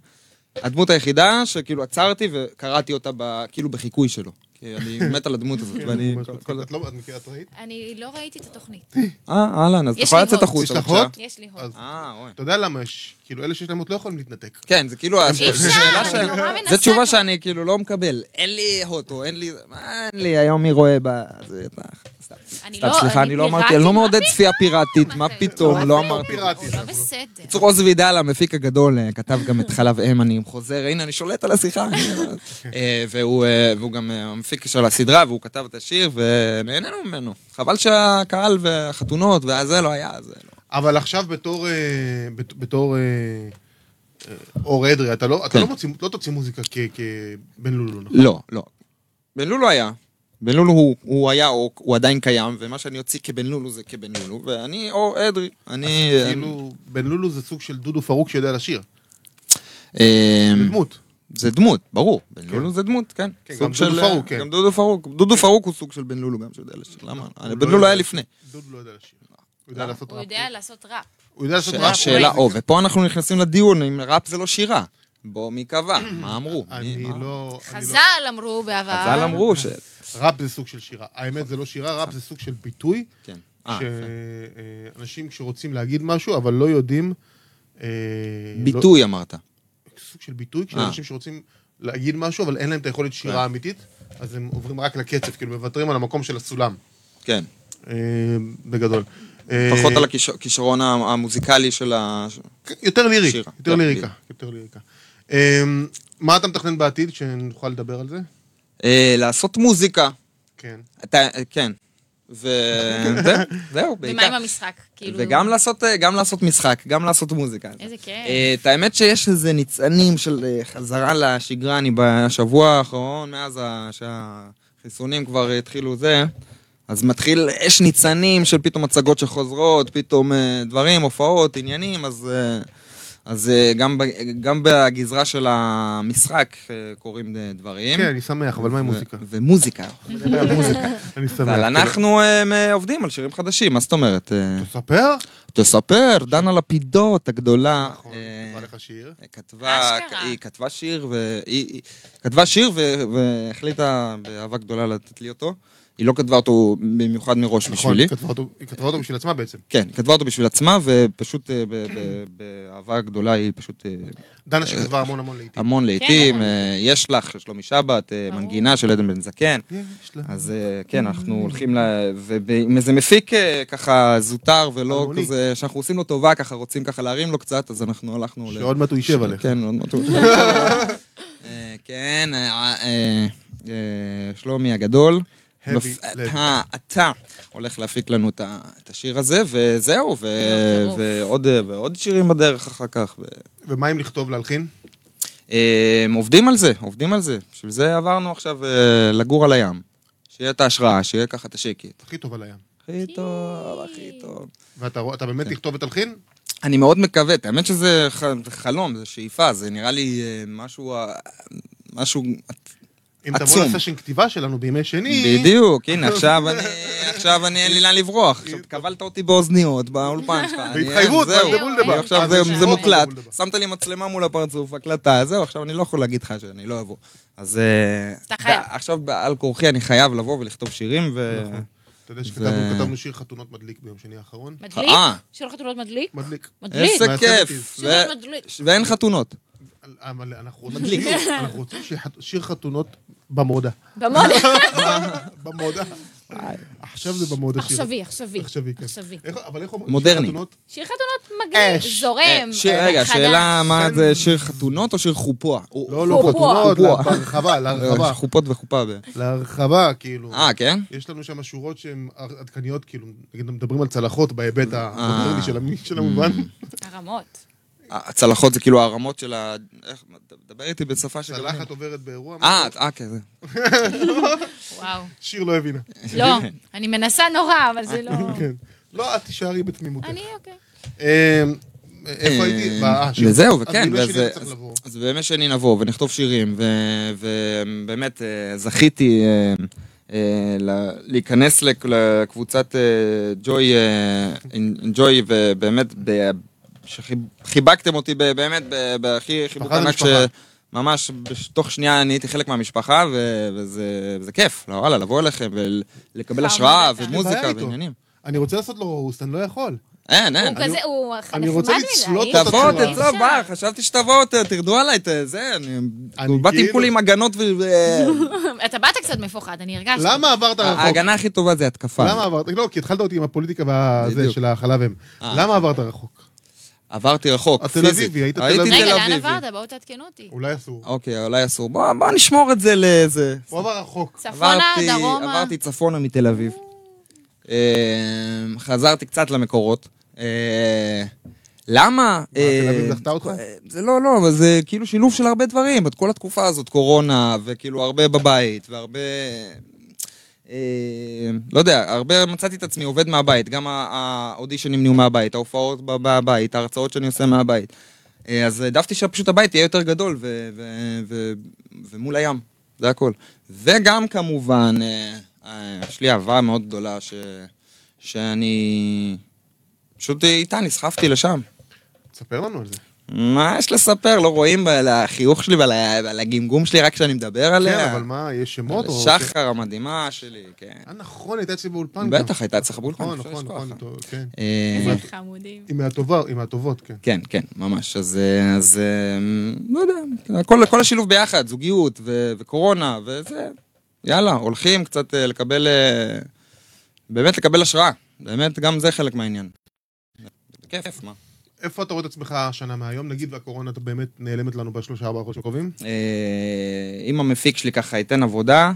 D: הדמות היחידה שכאילו עצרתי וקראתי אותה ב- כאילו בחיקוי שלו. כי אני מת על הדמות הזאת, ואני... כל- כל-
A: את לא את מכירה את ראית?
B: אני לא ראיתי את התוכנית.
D: אה, אהלן, אז את
B: יש
D: יכולה
B: לי
D: לצאת
B: הוט.
D: החוצה.
A: יש לך
D: בבקשה.
A: הוט?
B: יש לי הוד.
A: אז
D: אה, אוי.
A: אתה יודע למה יש, כאילו אלה שיש להם עוד לא יכולים להתנתק.
D: כן, זה כאילו...
B: אי אפשר,
D: שאלה
B: אני
D: שאני-
B: נורא מנסה.
D: זו תשובה שאני כאילו לא מקבל. אין לי הוט, או אין לי... מה אין לי, היום מי רואה ב... זה, אתה- סתם.
B: אני
D: סתם,
B: לא-
D: סליחה,
B: אני
D: אני לא אמרתי,
B: פיראטית?
D: אני לא
B: מה
D: מעודד
B: פתאום?
D: צפייה פיראטית, מה
B: אתה-
D: פתאום, לא אמרתי.
A: פיראטי.
B: לא בסדר.
D: בקיצור, עוז וידל, המפיק הגדול, אה, כתב גם את חלב אם, אני חוזר, הנה, אני שולט על השיחה. אה, והוא אה, והוא גם אה, המפיק של הסדרה, והוא כתב את השיר, ונהנינו ממנו. חבל שהקהל והחתונות והזה לא היה, זה לא.
A: אבל עכשיו בתור, אה, בת- בתור אה, אה, אור אדרי, אתה לא, אתה
D: כן.
A: לא, מוציא, לא תוציא מוזיקה כ- כבן לולו, נכון?
D: לא, לא. בן לולו היה. בן לולו הוא, הוא היה, הוא, הוא עדיין קיים, ומה שאני אוציא כבן לולו זה כבן לולו, ואני אור אדרי. אה, אני...
A: כאילו, בן לולו זה סוג של דודו פרוק שיודע לשיר,
D: אה,
A: דמות.
D: זה דמות, ברור. בן לולו זה דמות, כן.
A: כן,
D: סוג
A: גם דודו
D: של-
A: פרוק, כן.
D: גם דודו פרוק. דודו פרוק הוא סוג של בן לולו גם, שיודע לשיר. למה? בן
A: לא
D: לולו היה
A: יודע.
D: לפני.
A: דודו לא יודע לשיר. הוא יודע לעשות
B: הוא
A: ראפ.
D: לא-
B: יודע לעשות ראפ.
A: הוא יודע לעשות ראפ.
D: השאלה, או, ופה אנחנו נכנסים לדיון, אם ראפ זה לא שירה. בוא, מי קבע? מה אמרו? מי-
A: אני
D: אה, מה?
A: לא... אני לא-
B: חז"ל אמרו בעבר.
D: חז"ל אמרו ש...
A: ראפ זה סוג של שירה. האמת, זה לא שירה, ראפ זה סוג של ביטוי.
D: כן. אה, יפה.
A: שאנשים כשרוצים להגיד משהו, אבל לא יודעים... אה, לא-
D: ביטוי אמרת.
A: סוג של ביטוי, כשאנשים שרוצים להגיד משהו, אבל אין להם את היכולת שירה אמיתית, אז הם עוברים רק לקצב, כאילו מוותרים על המקום של הסולם.
D: כן.
A: אה, בגדול. אה,
D: פחות על הכישרון המוזיקלי של ה...
A: כן, יותר לירי,
D: שירה.
A: יותר
D: כן,
A: ליריקה,
D: בדיוק.
A: יותר ליריקה. אה, מה אתה מתכנן בעתיד, שנוכל לדבר על זה?
D: אה, לעשות מוזיקה.
A: כן.
D: אתה, כן. ו... זה- זהו, בעיקר.
B: ומה עם המשחק? כאילו...
D: וגם לעשות, אה, גם לעשות משחק, גם לעשות מוזיקה.
B: איזה כיף.
D: אה, את האמת שיש איזה ניצנים של אה, חזרה לשגרה, אני בשבוע האחרון, מאז ה- שהחיסונים כבר התחילו זה, אז מתחיל, יש ניצנים של פתאום הצגות שחוזרות, פתאום אה, דברים, הופעות, עניינים, אז... אה, אז אה, גם, ב- גם בגזרה של המשחק אה, קורים אה, דברים.
A: כן, אני שמח, אבל מה עם
D: ו-
A: מוזיקה?
D: ומוזיקה.
A: אני שמח.
D: אבל אנחנו אה, מ- עובדים על שירים חדשים, מה זאת אומרת? אה,
A: תספר?
D: תספר, דנה לפידות הגדולה.
A: נכון,
D: אה,
A: נקרא לך שיר.
D: כתבה,
B: אשכרה.
D: היא כתבה שיר, והיא היא כתבה שיר ו- והחליטה באהבה גדולה לתת לי אותו. היא לא כתבה אותו במיוחד מראש
A: נכון,
D: בשבילי.
A: היא כתבה אותו- היא כתבה אותו בשביל עצמה בעצם.
D: כן, היא כתבה אותו בשביל עצמה, ופשוט אה, ב- ב- באהבה גדולה היא פשוט אה,
A: דנה שכתבה המון המון לעיתים.
D: המון לעיתים.
B: המון.
D: אה, יש לך, של שלומי שבת, אה,
B: כן, ברור.
D: מנגינה של עדן בן זקן.
A: כן. יש לה.
D: אז אה, כן, אנחנו הולכים ל... ועם איזה מפיק אה, ככה זוטר ולא
A: אלמוני.
D: כזה, שאנחנו עושים לו טובה, ככה רוצים ככה להרים לו קצת, אז אנחנו הלכנו ל...
A: שעוד מעט הוא יישב עליך.
D: כן, עוד מעט הוא... אה, כן, אה, אה, אה, שלומי הגדול.
A: Heavy
D: מפ-
A: lab.
D: אתה, אתה הולך להפיק לנו את ה- את השיר הזה, וזהו, ו-
B: טירוף.
D: ועוד אה, ועוד שירים בדרך אחר כך. ו-
A: ומה אם לכתוב להלחין?
D: אה, עובדים על זה, עובדים על זה. בשביל זה עברנו עכשיו אה, לגור על הים. שיהיה את ההשראה, שיהיה ככה את השקט.
A: הכי טוב על הים.
D: הכי טוב, הכי טוב.
A: ואתה רוא- אתה באמת תכתוב ותלחין?
D: אני מאוד מקווה, האמת שזה ח- חלום, זה שאיפה, זה נראה לי אה, משהו, אה, משהו...
A: אם תבוא
D: עצום.
A: לסשן כתיבה שלנו בימי שני...
D: בדיוק, הנה, עכשיו אני, עכשיו אני, אין לי לאן לברוח. עכשיו קבלת אותי באוזניות, באולפן שלך. אני-
A: בהתחייבות,
D: זהו,
A: מה זה בולדבר?
D: אני עכשיו
A: אה,
D: זה-
A: זה
D: זה
A: בולדבר.
D: מוקלט,
A: בולדבר.
D: שמת לי מצלמה מול הפרצוף, הקלטה, זהו, עכשיו אני לא יכול להגיד לך שאני לא אבוא. אז אה,
B: אתה חייב.
D: עכשיו בעל כורחי אני חייב לבוא ולכתוב שירים, ו...
A: נכון. אתה יודע שכתבנו כתבנו שיר חתונות מדליק ביום שני האחרון?
B: מדליק?
D: אה.
B: שיר חתולות מדליק?
A: מדליק.
B: מדליק.
D: איזה
A: מה,
D: כיף.
A: עשיתי?
D: ו-
B: שיר מדליק.
D: ואין חתונות.
A: אבל אנחנו רוצים שיר- אנחנו רוצים שיר- שיר חתונות במודה.
B: במוד.
A: במודה. עכשיו זה במודה שיר.
B: עכשווי, עכשווי.
A: עכשווי, כן.
B: עכשווי.
A: איך- אבל איך אומרים?
D: מודרני.
A: שיר חתונות?
B: שיר חתונות מגניב, זורם.
D: אה, שיר- רגע,
B: חדש.
D: השאלה מה זה שיר חתונות או שיר חופוע?
A: כן. לא, לא
B: חופוע.
A: חתונות,
D: חופוע.
A: להרחבה, להרחבה.
D: חופות וחופה. ב-
A: להרחבה, כאילו.
D: אה, כן?
A: יש לנו שם שורות שהן עדכניות, כאילו, נגיד מדברים על צלחות בהיבט
D: אה.
A: המודרני של המ- של המובן.
B: הרמות.
D: הצלחות זה כאילו הרמות של ה... איך, דבר איתי בשפה של...
A: צלחת עוברת באירוע.
D: אה, אה, כן. זה-
B: וואו.
A: שיר לא הבינה.
B: לא, אני מנסה נורא, אבל זה לא...
A: כן. לא, את תישארי בתמימותך.
B: אני, אוקיי.
A: אה, איפה הייתי? אה, שיר.
D: אמ, וזהו,
A: אז
D: וכן.
A: בימי שני
D: וזה-
A: אתה צריך לבוא.
D: אז בימי שני נבוא ונכתוב שירים, ו- ובאמת אה, זכיתי אה, אה, ל- להיכנס לק- לקבוצת אה, ג'וי, אה, ג'וי, ובאמת, ב- שחיב- חיבקתם אותי ב- באמת, ב- בהכי חיבוק
A: משפחה זה
D: ענק ש...
A: משפחה.
D: ממש בש- תוך שנייה אני הייתי חלק מהמשפחה, ו- וזה וזה כיף, לא, וואלה, לבוא אליכם ולקבל
B: חם,
D: השראה
B: בטח.
D: ומוזיקה
A: בעיה איתו.
D: ועניינים.
A: אני רוצה לעשות לו רוסט, אני לא יכול.
D: אין, אין.
B: הוא כזה, הוא נחמד
A: אני רוצה
B: מדי.
A: לצלוט
B: אי
A: אותו
D: תבוא,
B: אפשר.
A: תצלח.
D: תצלח, בר, חשבתי שתבוא, ת- תרדו עליי, ת- זה, אני...
A: אני
D: באתי עם
A: כאילו-
D: כולי עם הגנות ו... ו-
B: אתה באת קצת מפוחד, אני הרגשתי.
A: למה עברת רחוק?
D: ההגנה הכי טובה זה התקפה.
A: למה עברת? לא, כי התחלת אותי עם הפוליטיקה והזה
D: בדיוק. אה.
A: של החלב אם. למה עברת רחוק?
D: עברתי רחוק,
A: התל
D: פיזית.
A: אביבי, היית תל
D: הייתי
A: אביבי.
B: רגע,
D: תל
B: לאן
D: אביבי.
B: עברת? בואו תעדכנו אותי.
A: אולי אסור.
D: אוקיי, אולי אסור. בוא בוא נשמור את זה לאיזה...
A: הוא עבר רחוק.
B: צפונה,
D: עברתי-
B: דרומה.
D: עברתי צפונה מתל אביב. אמ, חזרתי קצת למקורות. אה, למה?
A: מה, תל אביב
D: אה,
A: דחתה אותך?
D: אה, זה לא, לא, אבל זה כאילו שילוב של הרבה דברים. את כל התקופה הזאת, קורונה, וכאילו הרבה בבית, והרבה... אה, לא יודע, הרבה מצאתי את עצמי עובד מהבית, גם ה- האודישנים נהיו מהבית, ההופעות ב- מהבית, ההרצאות שאני עושה מהבית. אה, אז העדפתי שפשוט הבית יהיה יותר גדול ו- ו- ו- ומול הים, זה הכל. וגם כמובן, אה, אה, יש לי אהבה מאוד גדולה ש- שאני פשוט איתה נסחפתי לשם.
A: תספר לנו על זה.
D: מה יש לספר? לא רואים על החיוך שלי ועל ה- ועל הגמגום שלי רק כשאני מדבר עליה?
A: כן, אבל מה, יש שמות? או-
D: לא. שחר המדהימה שלי, כן.
A: אה, נכון, הייתה אצלי באולפן. גם.
D: בטח, הייתה אצלך באולפן,
A: נכון,
D: אפשר
A: נכון,
D: לשכוח,
A: נכון,
D: אה?
A: טוב, כן.
D: אה,
B: איזה חמודים.
A: היא מהטובה- היא מהטובות, כן.
D: כן, כן, ממש. אז, אה, אז אה, לא יודע, הכל, כל השילוב ביחד, זוגיות ו- וקורונה וזה, יאללה, הולכים קצת אה, לקבל, אה, באמת לקבל השראה. באמת, גם זה חלק מהעניין. בכיף, מה.
A: איפה אתה רואה את עצמך שנה מהיום? נגיד והקורונה אתה באמת נעלמת לנו בשלושה ארבעה חודשים הקרובים?
D: אה, אם המפיק שלי ככה ייתן עבודה,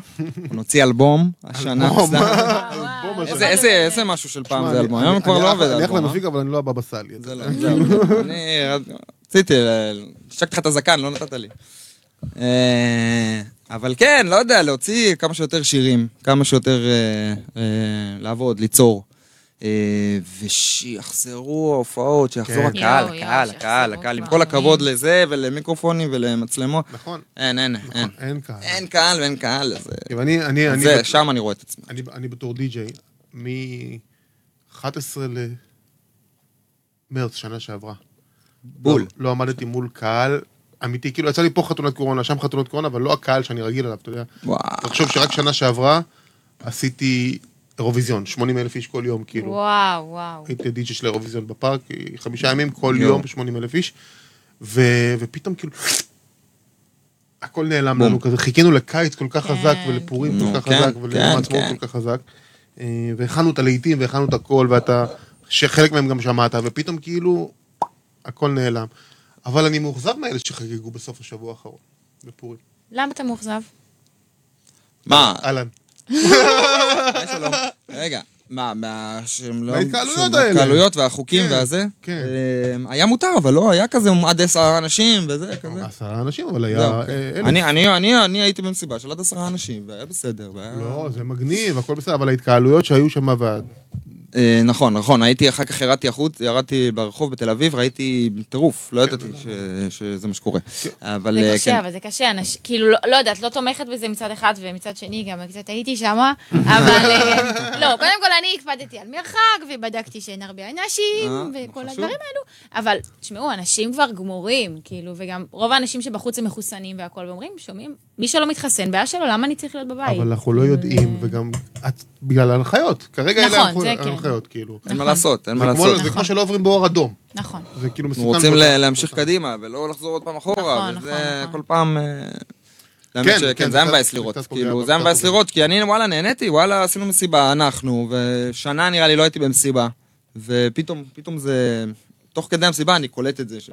D: נוציא אלבום השנה.
A: אלבום.
D: סתם.
B: אה, וואו, וואו.
D: איזה- איזה איזה משהו של פעם
A: שמע,
D: זה
A: אני-
D: אלבום,
A: אני-
D: היום כבר
A: אני
D: לא
A: אח-
D: עובד אלבום.
A: אני אחלה
D: אה?
A: מזיק, אבל אני לא הבבא סאלי. אתה
D: זה
A: יודע.
D: לא, זה לא. אני רציתי, השקתי לך את הזקן, לא נתת לי. אה, אבל כן, לא יודע, להוציא כמה שיותר שירים, כמה שיותר אה, אה, לעבוד, ליצור. אה, ושיחזרו ההופעות, שיחזור
A: כן.
D: הקהל,
B: יואו, יואו,
D: הקהל, הקהל,
B: שיחזרו
D: הקהל, עם
B: כבר,
D: כל הכבוד
B: אמן.
D: לזה ולמיקרופונים ולמצלמות.
A: נכון.
D: אין, אין, אין.
A: אין קהל.
D: אין קהל ואין קהל, אז אה,
A: כן, ואני- אני- אני-
D: זה, שם אני רואה את עצמי.
A: אני- אני בתור די-ג'יי, מ-11 למרץ שנה שעברה.
D: בול.
A: לא, לא עמדתי מול קהל אמיתי, כאילו יצא לי פה חתונת קורונה, שם חתונות קורונה, אבל לא הקהל שאני רגיל אליו, אתה יודע.
D: וואו.
A: תחשוב שרק שנה שעברה עשיתי אירוויזיון, 80 אלף איש כל יום, כאילו.
B: וואו, וואו.
A: הייתי די.ג'י של האירוויזיון בפארק, חמישה ימים, כל
D: יואו.
A: יום 80 אלף איש, ו- ופתאום כאילו... הכל נעלם לנו כזה, חיכינו לקיץ כל כך
B: כן.
A: חזק ולפורים
D: נו,
A: כל כך
D: כן,
A: חזק
D: כן,
A: וליום העצמאות
D: כן.
A: כל כך חזק. אה, והכנו את הלהיטים והכנו את הכל ואתה, שחלק מהם גם שמעת, ופתאום כאילו הכל נעלם. אבל אני מאוכזב מאלה שחגגו בסוף השבוע האחרון, בפורים.
B: למה אתה מאוכזב?
D: מה,
A: אהלן.
D: רגע, מה, מה, שהם לא...
A: מההתקהלויות
D: שהם-
A: האלה.
D: ההתקהלויות והחוקים
A: כן,
D: והזה?
A: כן.
D: אה, היה מותר, אבל לא היה כזה עד עשרה אנשים וזה, כזה.
A: עשרה אנשים, אבל היה...
D: זהו.
A: אה, אלף.
D: אה? לא, אוקיי. אני- אני- אני- אני הייתי במסיבה של עד עשרה אנשים, והיה בסדר. והיה-
A: לא, זה מגניב, הכל בסדר, אבל ההתקהלויות שהיו שם, וה-
D: אה, נכון, נכון, הייתי, אחר כך ירדתי החוץ, ירדתי ברחוב בתל אביב, ראיתי טירוף, לא ידעתי
A: כן.
D: ש- שזה מה שקורה. אבל...
B: זה
D: אה,
B: קשה,
D: כן.
B: אבל זה קשה. אנש- כאילו, לא- לא יודעת, לא תומכת בזה מצד אחד, ומצד שני גם קצת הייתי שמה, אבל... אה, לא, קודם כל אני הקפדתי על מרחק, ובדקתי שאין הרבה אנשים,
D: אה,
B: וכל
D: חשוב.
B: הדברים האלו. אבל, תשמעו, אנשים כבר גמורים, כאילו, וגם רוב האנשים שבחוץ הם מחוסנים והכול, ואומרים, שומעים, מי שלא מתחסן, בעיה שלו, למה אני צריך להיות בבית?
A: אבל אנחנו לא יודעים, וגם את, בגלל ההנחיות. כרגע אלה
B: נכון, זה
A: ההנחו-
B: כן.
A: ההנחיות, כאילו.
D: אין מה לעשות, אין
A: זה
D: מה
A: כמו-
D: לעשות.
A: זה כמו שלא עוברים באור אדום.
B: נכון.
A: זה כאילו מסוכן.
D: אנחנו רוצים
A: מאוד.
D: ל- להמשיך קדימה, ולא לחזור עוד פעם אחורה,
B: נכון,
D: וזה
B: נכון,
D: כל פעם... אה, האמת
A: כן,
D: שכן,
A: כן,
D: זה היה
A: זה
D: מבאס
A: קצת-
D: לראות,
A: קצת פוגע
D: כאילו,
A: ב-
D: זה היה
A: קצת
D: מבאס
A: פוגע.
D: לראות, כי אני, וואלה, נהניתי, וואלה, עשינו מסיבה, אנחנו, ושנה נראה לי לא הייתי במסיבה, ופתאום, פתאום זה, תוך כדי המסיבה אני קולט את זה, ש-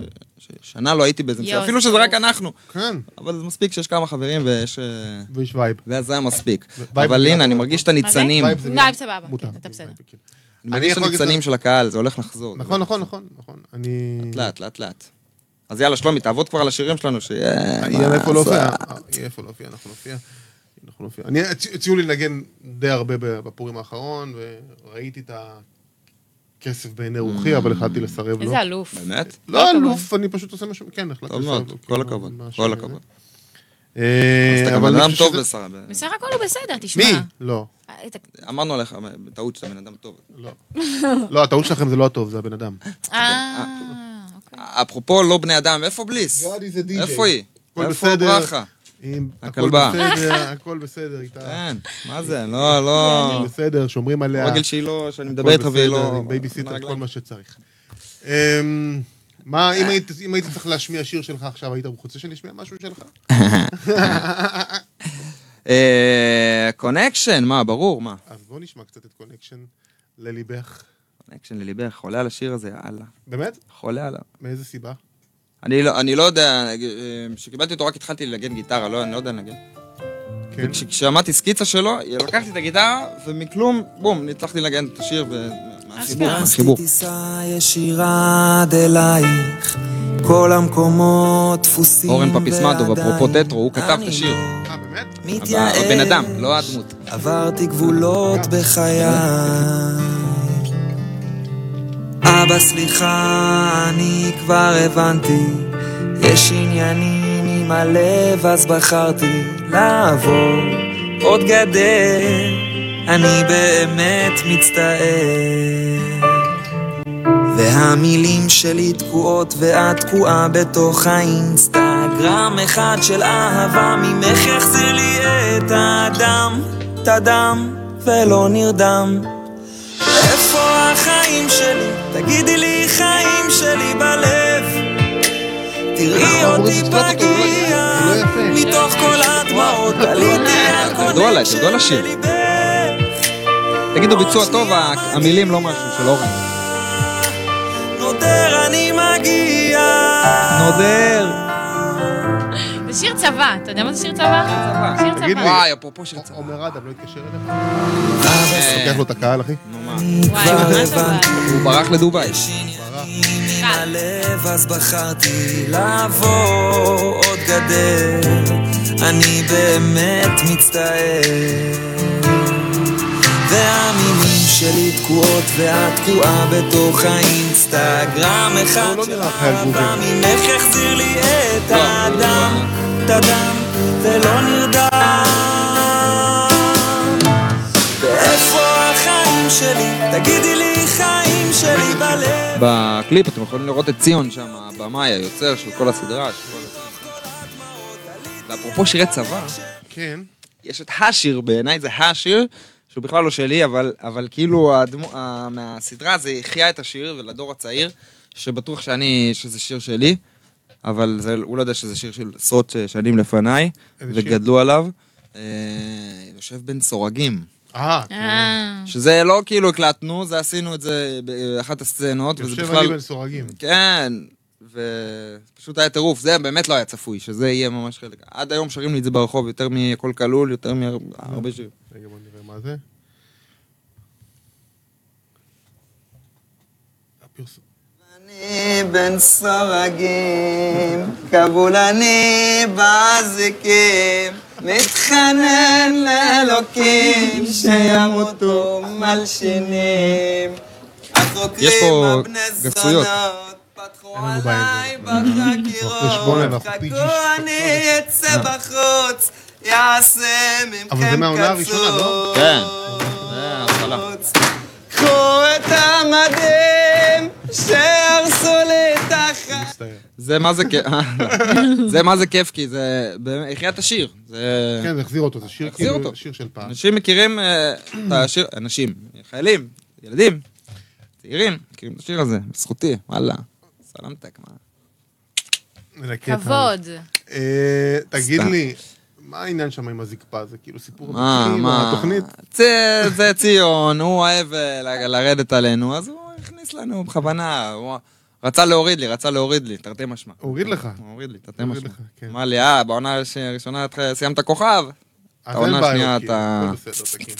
D: ששנה לא הייתי באיזה מסיבה,
B: יואו,
D: אפילו
B: זה
D: שזה רק
B: טירוף.
D: אנחנו,
A: כן,
D: אבל זה מספיק שיש כמה חברים ויש... אה,
A: ויש וייב.
D: ואז זה היה מספיק.
A: וייב
D: אבל
A: זה
D: הנה,
A: גם-
D: אני מרגיש את הניצנים,
A: וייב
D: אני
A: זה
B: וייב
A: מילה-
B: סבבה,
A: מותר.
B: כן, אתה בסדר.
A: כן.
D: מרגיש את
A: יכול להגיד לך-
D: הניצנים של הקהל, זה הולך לחזור.
A: נכון, נכון, נכון, נכון. אני...
D: לאט, לאט, לאט. אז יאללה, שלומי, תעבוד כבר על השירים שלנו, שיהיה...
A: יהיה
D: מה
A: איפה לא להופיע.
D: לעשות.
A: אה, יהיה איפה להופיע, אנחנו נופיע. אנחנו נופיע. אני, הצ- הציעו לי לנגן די הרבה בפורים האחרון, וראיתי את הכסף בעיני
D: Mm.
A: רוחי, אבל החלטתי לסרב לו.
B: איזה אלוף.
D: באמת?
A: לא אלוף, אני פשוט עושה משהו, כן, החלטתי
D: טוב
A: לסרב
D: מאוד,
A: לו,
D: לא, כל
A: כאילו,
D: הכבוד,
A: משהו
D: כל
A: כזה.
D: הכבוד.
A: אה,
D: אז אתה
A: אבל
D: גם
A: אני
D: אדם
A: חושב
D: טוב
A: שזה-
D: בשרה.
B: בסך הכל הוא בסדר, תשמע.
A: מי? לא,
B: אה, אתה-
D: אמרנו עליך בטעות שאתה בן אדם טוב.
A: לא. לא, הטעות שלכם זה לא הטוב, זה הבן אדם.
B: אה, אוקיי.
D: אפרופו לא בני אדם, איפה בליס?
A: גדי זה די-ג'יי.
D: איפה היא?
A: הכל
D: איפה
A: בסדר.
D: ברכה?
A: אם הכל
D: הכלבה.
A: בסדר, הכל בסדר איתה.
D: כן, מה זה, לא, לא...
A: אה, בסדר, שומרים עליה.
D: רגל שהיא לא, שאני מדבר איתך והיא לא...
A: בייביסיטר, כל מה שצריך. אמ, מה, אם היית- אם היית צריך להשמיע שיר שלך עכשיו, היית רוצה שאני אשמיע משהו שלך?
D: אה, קונקשן, מה, ברור, מה?
A: אז בוא נשמע קצת את קונקשן לליבך.
D: קונקשן לליבך, חולה על השיר הזה, יאללה.
A: באמת?
D: חולה עליו.
A: מאיזה סיבה?
D: אני לא, אני לא יודע, אה, כשקיבלתי אותו רק התחלתי לנגן גיטרה, לא, אני לא יודע לנגן.
A: כן.
D: וכששמעתי סקיצה שלו, לקחתי את הגיטרה, ומכלום, בום, הצלחתי לנגן את השיר, ומהחיבור, מהחיבור.
E: טיסה ישירה עד אלייך, כל המקומות דפוסים
D: אורן פפיסמטוב, אפרופו טטרו, הוא כתב את השיר.
A: אה, באמת?
D: הבא- הבן אדם, לא הדמות.
E: עברתי גבולות בחיי. אבא, סליחה, אני כבר הבנתי, יש עניינים עם הלב, אז בחרתי לעבור עוד גדר, אני באמת מצטער. והמילים שלי תקועות ואת תקועה בתוך האינסטגרם אחד של אהבה ממך יחזיר לי את הדם, את הדם ולא נרדם איפה החיים שלי? תגידי לי חיים שלי בלב תראי
A: אנחנו
E: אותי
A: אמורים לצטט אותו, הוא לא
E: פגיע
A: יפה, הוא לא יפה.
E: מתוך כל הדמעות עליתי על
D: תרדו עליי, תרדו על
E: קונקשן
D: השיר.
E: לליבך
D: תגידו ביצוע טוב, ה- המילים לא משהו של אורן.
E: נודר אני מגיע
D: נודר.
B: זה שיר צבא, אתה יודע מה זה שיר צבא? שיר צבא.
A: תגיד לי.
D: וואי, אפרופו שיר צבא.
A: עומר אדם לא התקשר אליך?
D: אה.
A: לוקח לו את הקהל, אחי.
D: נו מה,
B: וואי, ממש אבל.
D: הוא ברח לדובאי.
E: עם הלב אז בחרתי לעבור עוד גדר אני באמת מצטער והמילים שלי תקועות ואת תקועה בתוך האינסטגרם אחד
A: לא
E: של
A: נראה חייל
E: אהבה
A: גובר.
E: ממך יחזיר לי את
D: לא.
E: האדם לא את הדם ולא נרדם ואיפה החיים שלי? תגידי לי חיים שלי בלב
D: בקליפ אתם יכולים לראות את ציון שם, הבמאי, היוצר של כל הסדרה. של כל זה. ואפרופו שירי צבא,
A: כן.
D: יש את השיר, בעיניי זה השיר, שהוא בכלל לא שלי, אבל, אבל כאילו הדמו, ה, מהסדרה זה החיה את השיר ולדור הצעיר, שבטוח שאני, שזה שיר שלי, אבל זה, הוא לא יודע שזה שיר של עשרות אה, שנים לפניי,
A: איזה שיר?
D: וגדלו עליו. אה, יושב בין סורגים.
A: אה, כן.
B: אה,
D: שזה לא כאילו הקלטנו, זה עשינו את זה באחת הסצנות, וזה
A: יושב
D: כאילו, בכלל...
A: אני בין סורגים.
D: כן, ופשוט היה טירוף, זה באמת לא היה צפוי, שזה יהיה ממש חלק. עד היום שרים לי את זה ברחוב, יותר מכל כלול, יותר מהרבה שירים.
A: רגע, בוא נראה מה זה. הפרסום.
E: אני בן סורגים, כבול אני באזיקים, מתחנן לאלוקים שימותו מלשינים.
D: יש פה
E: החוקרים הבני
D: גסויות.
E: זונות פתחו
A: אין לנו בעיה עם זה.
E: עליי
A: בחשבון
E: בחקירות,
A: אנחנו
E: חכו
A: פיג'י אה.
E: אני אצא בחוץ, יעשה
A: אבל זה
E: מכם
A: מהעונה הראשונה, לא?
E: קצוץ.
D: כן, זה ההתחלה.
E: בחוץ. קחו את המדים שהרסו לי את החיים.
A: מצטער.
D: זה מה זה כיף, זה מה זה כיף, כי זה באמת, החיית השיר. זה...
A: כן, זה החזיר אותו, זה שיר
D: החזיר
A: כאילו,
D: אותו.
A: שיר של פעם.
D: אנשים מכירים אה, את השיר, אנשים, חיילים, ילדים, צעירים, מכירים את השיר הזה, בזכותי, וואלה. סלמתק, מה?
A: זה הקטע.
B: כבוד.
A: אה, תגיד
D: סתם.
A: לי, מה העניין שם עם הזקפה? זה כאילו סיפור
D: מה,
A: אמיתי,
D: מה?
A: התוכנית?
D: זה, זה ציון, הוא אוהב אה, ל- לרדת עלינו, אז הוא הכניס לנו בכוונה, הוא רצה להוריד לי, רצה להוריד לי, תרתי משמע.
A: הוריד לך.
D: הוא הוריד לי, תרתי
A: הוריד
D: משמע.
A: לך, כן.
D: אמר לי, אה, בעונה הש- הראשונה את סיימת כוכב,
A: אז
D: העונה
A: אין בעיות,
D: השנייה
A: כאילו,
D: אתה- כן.
A: הכל בסדר, תקין. כאילו.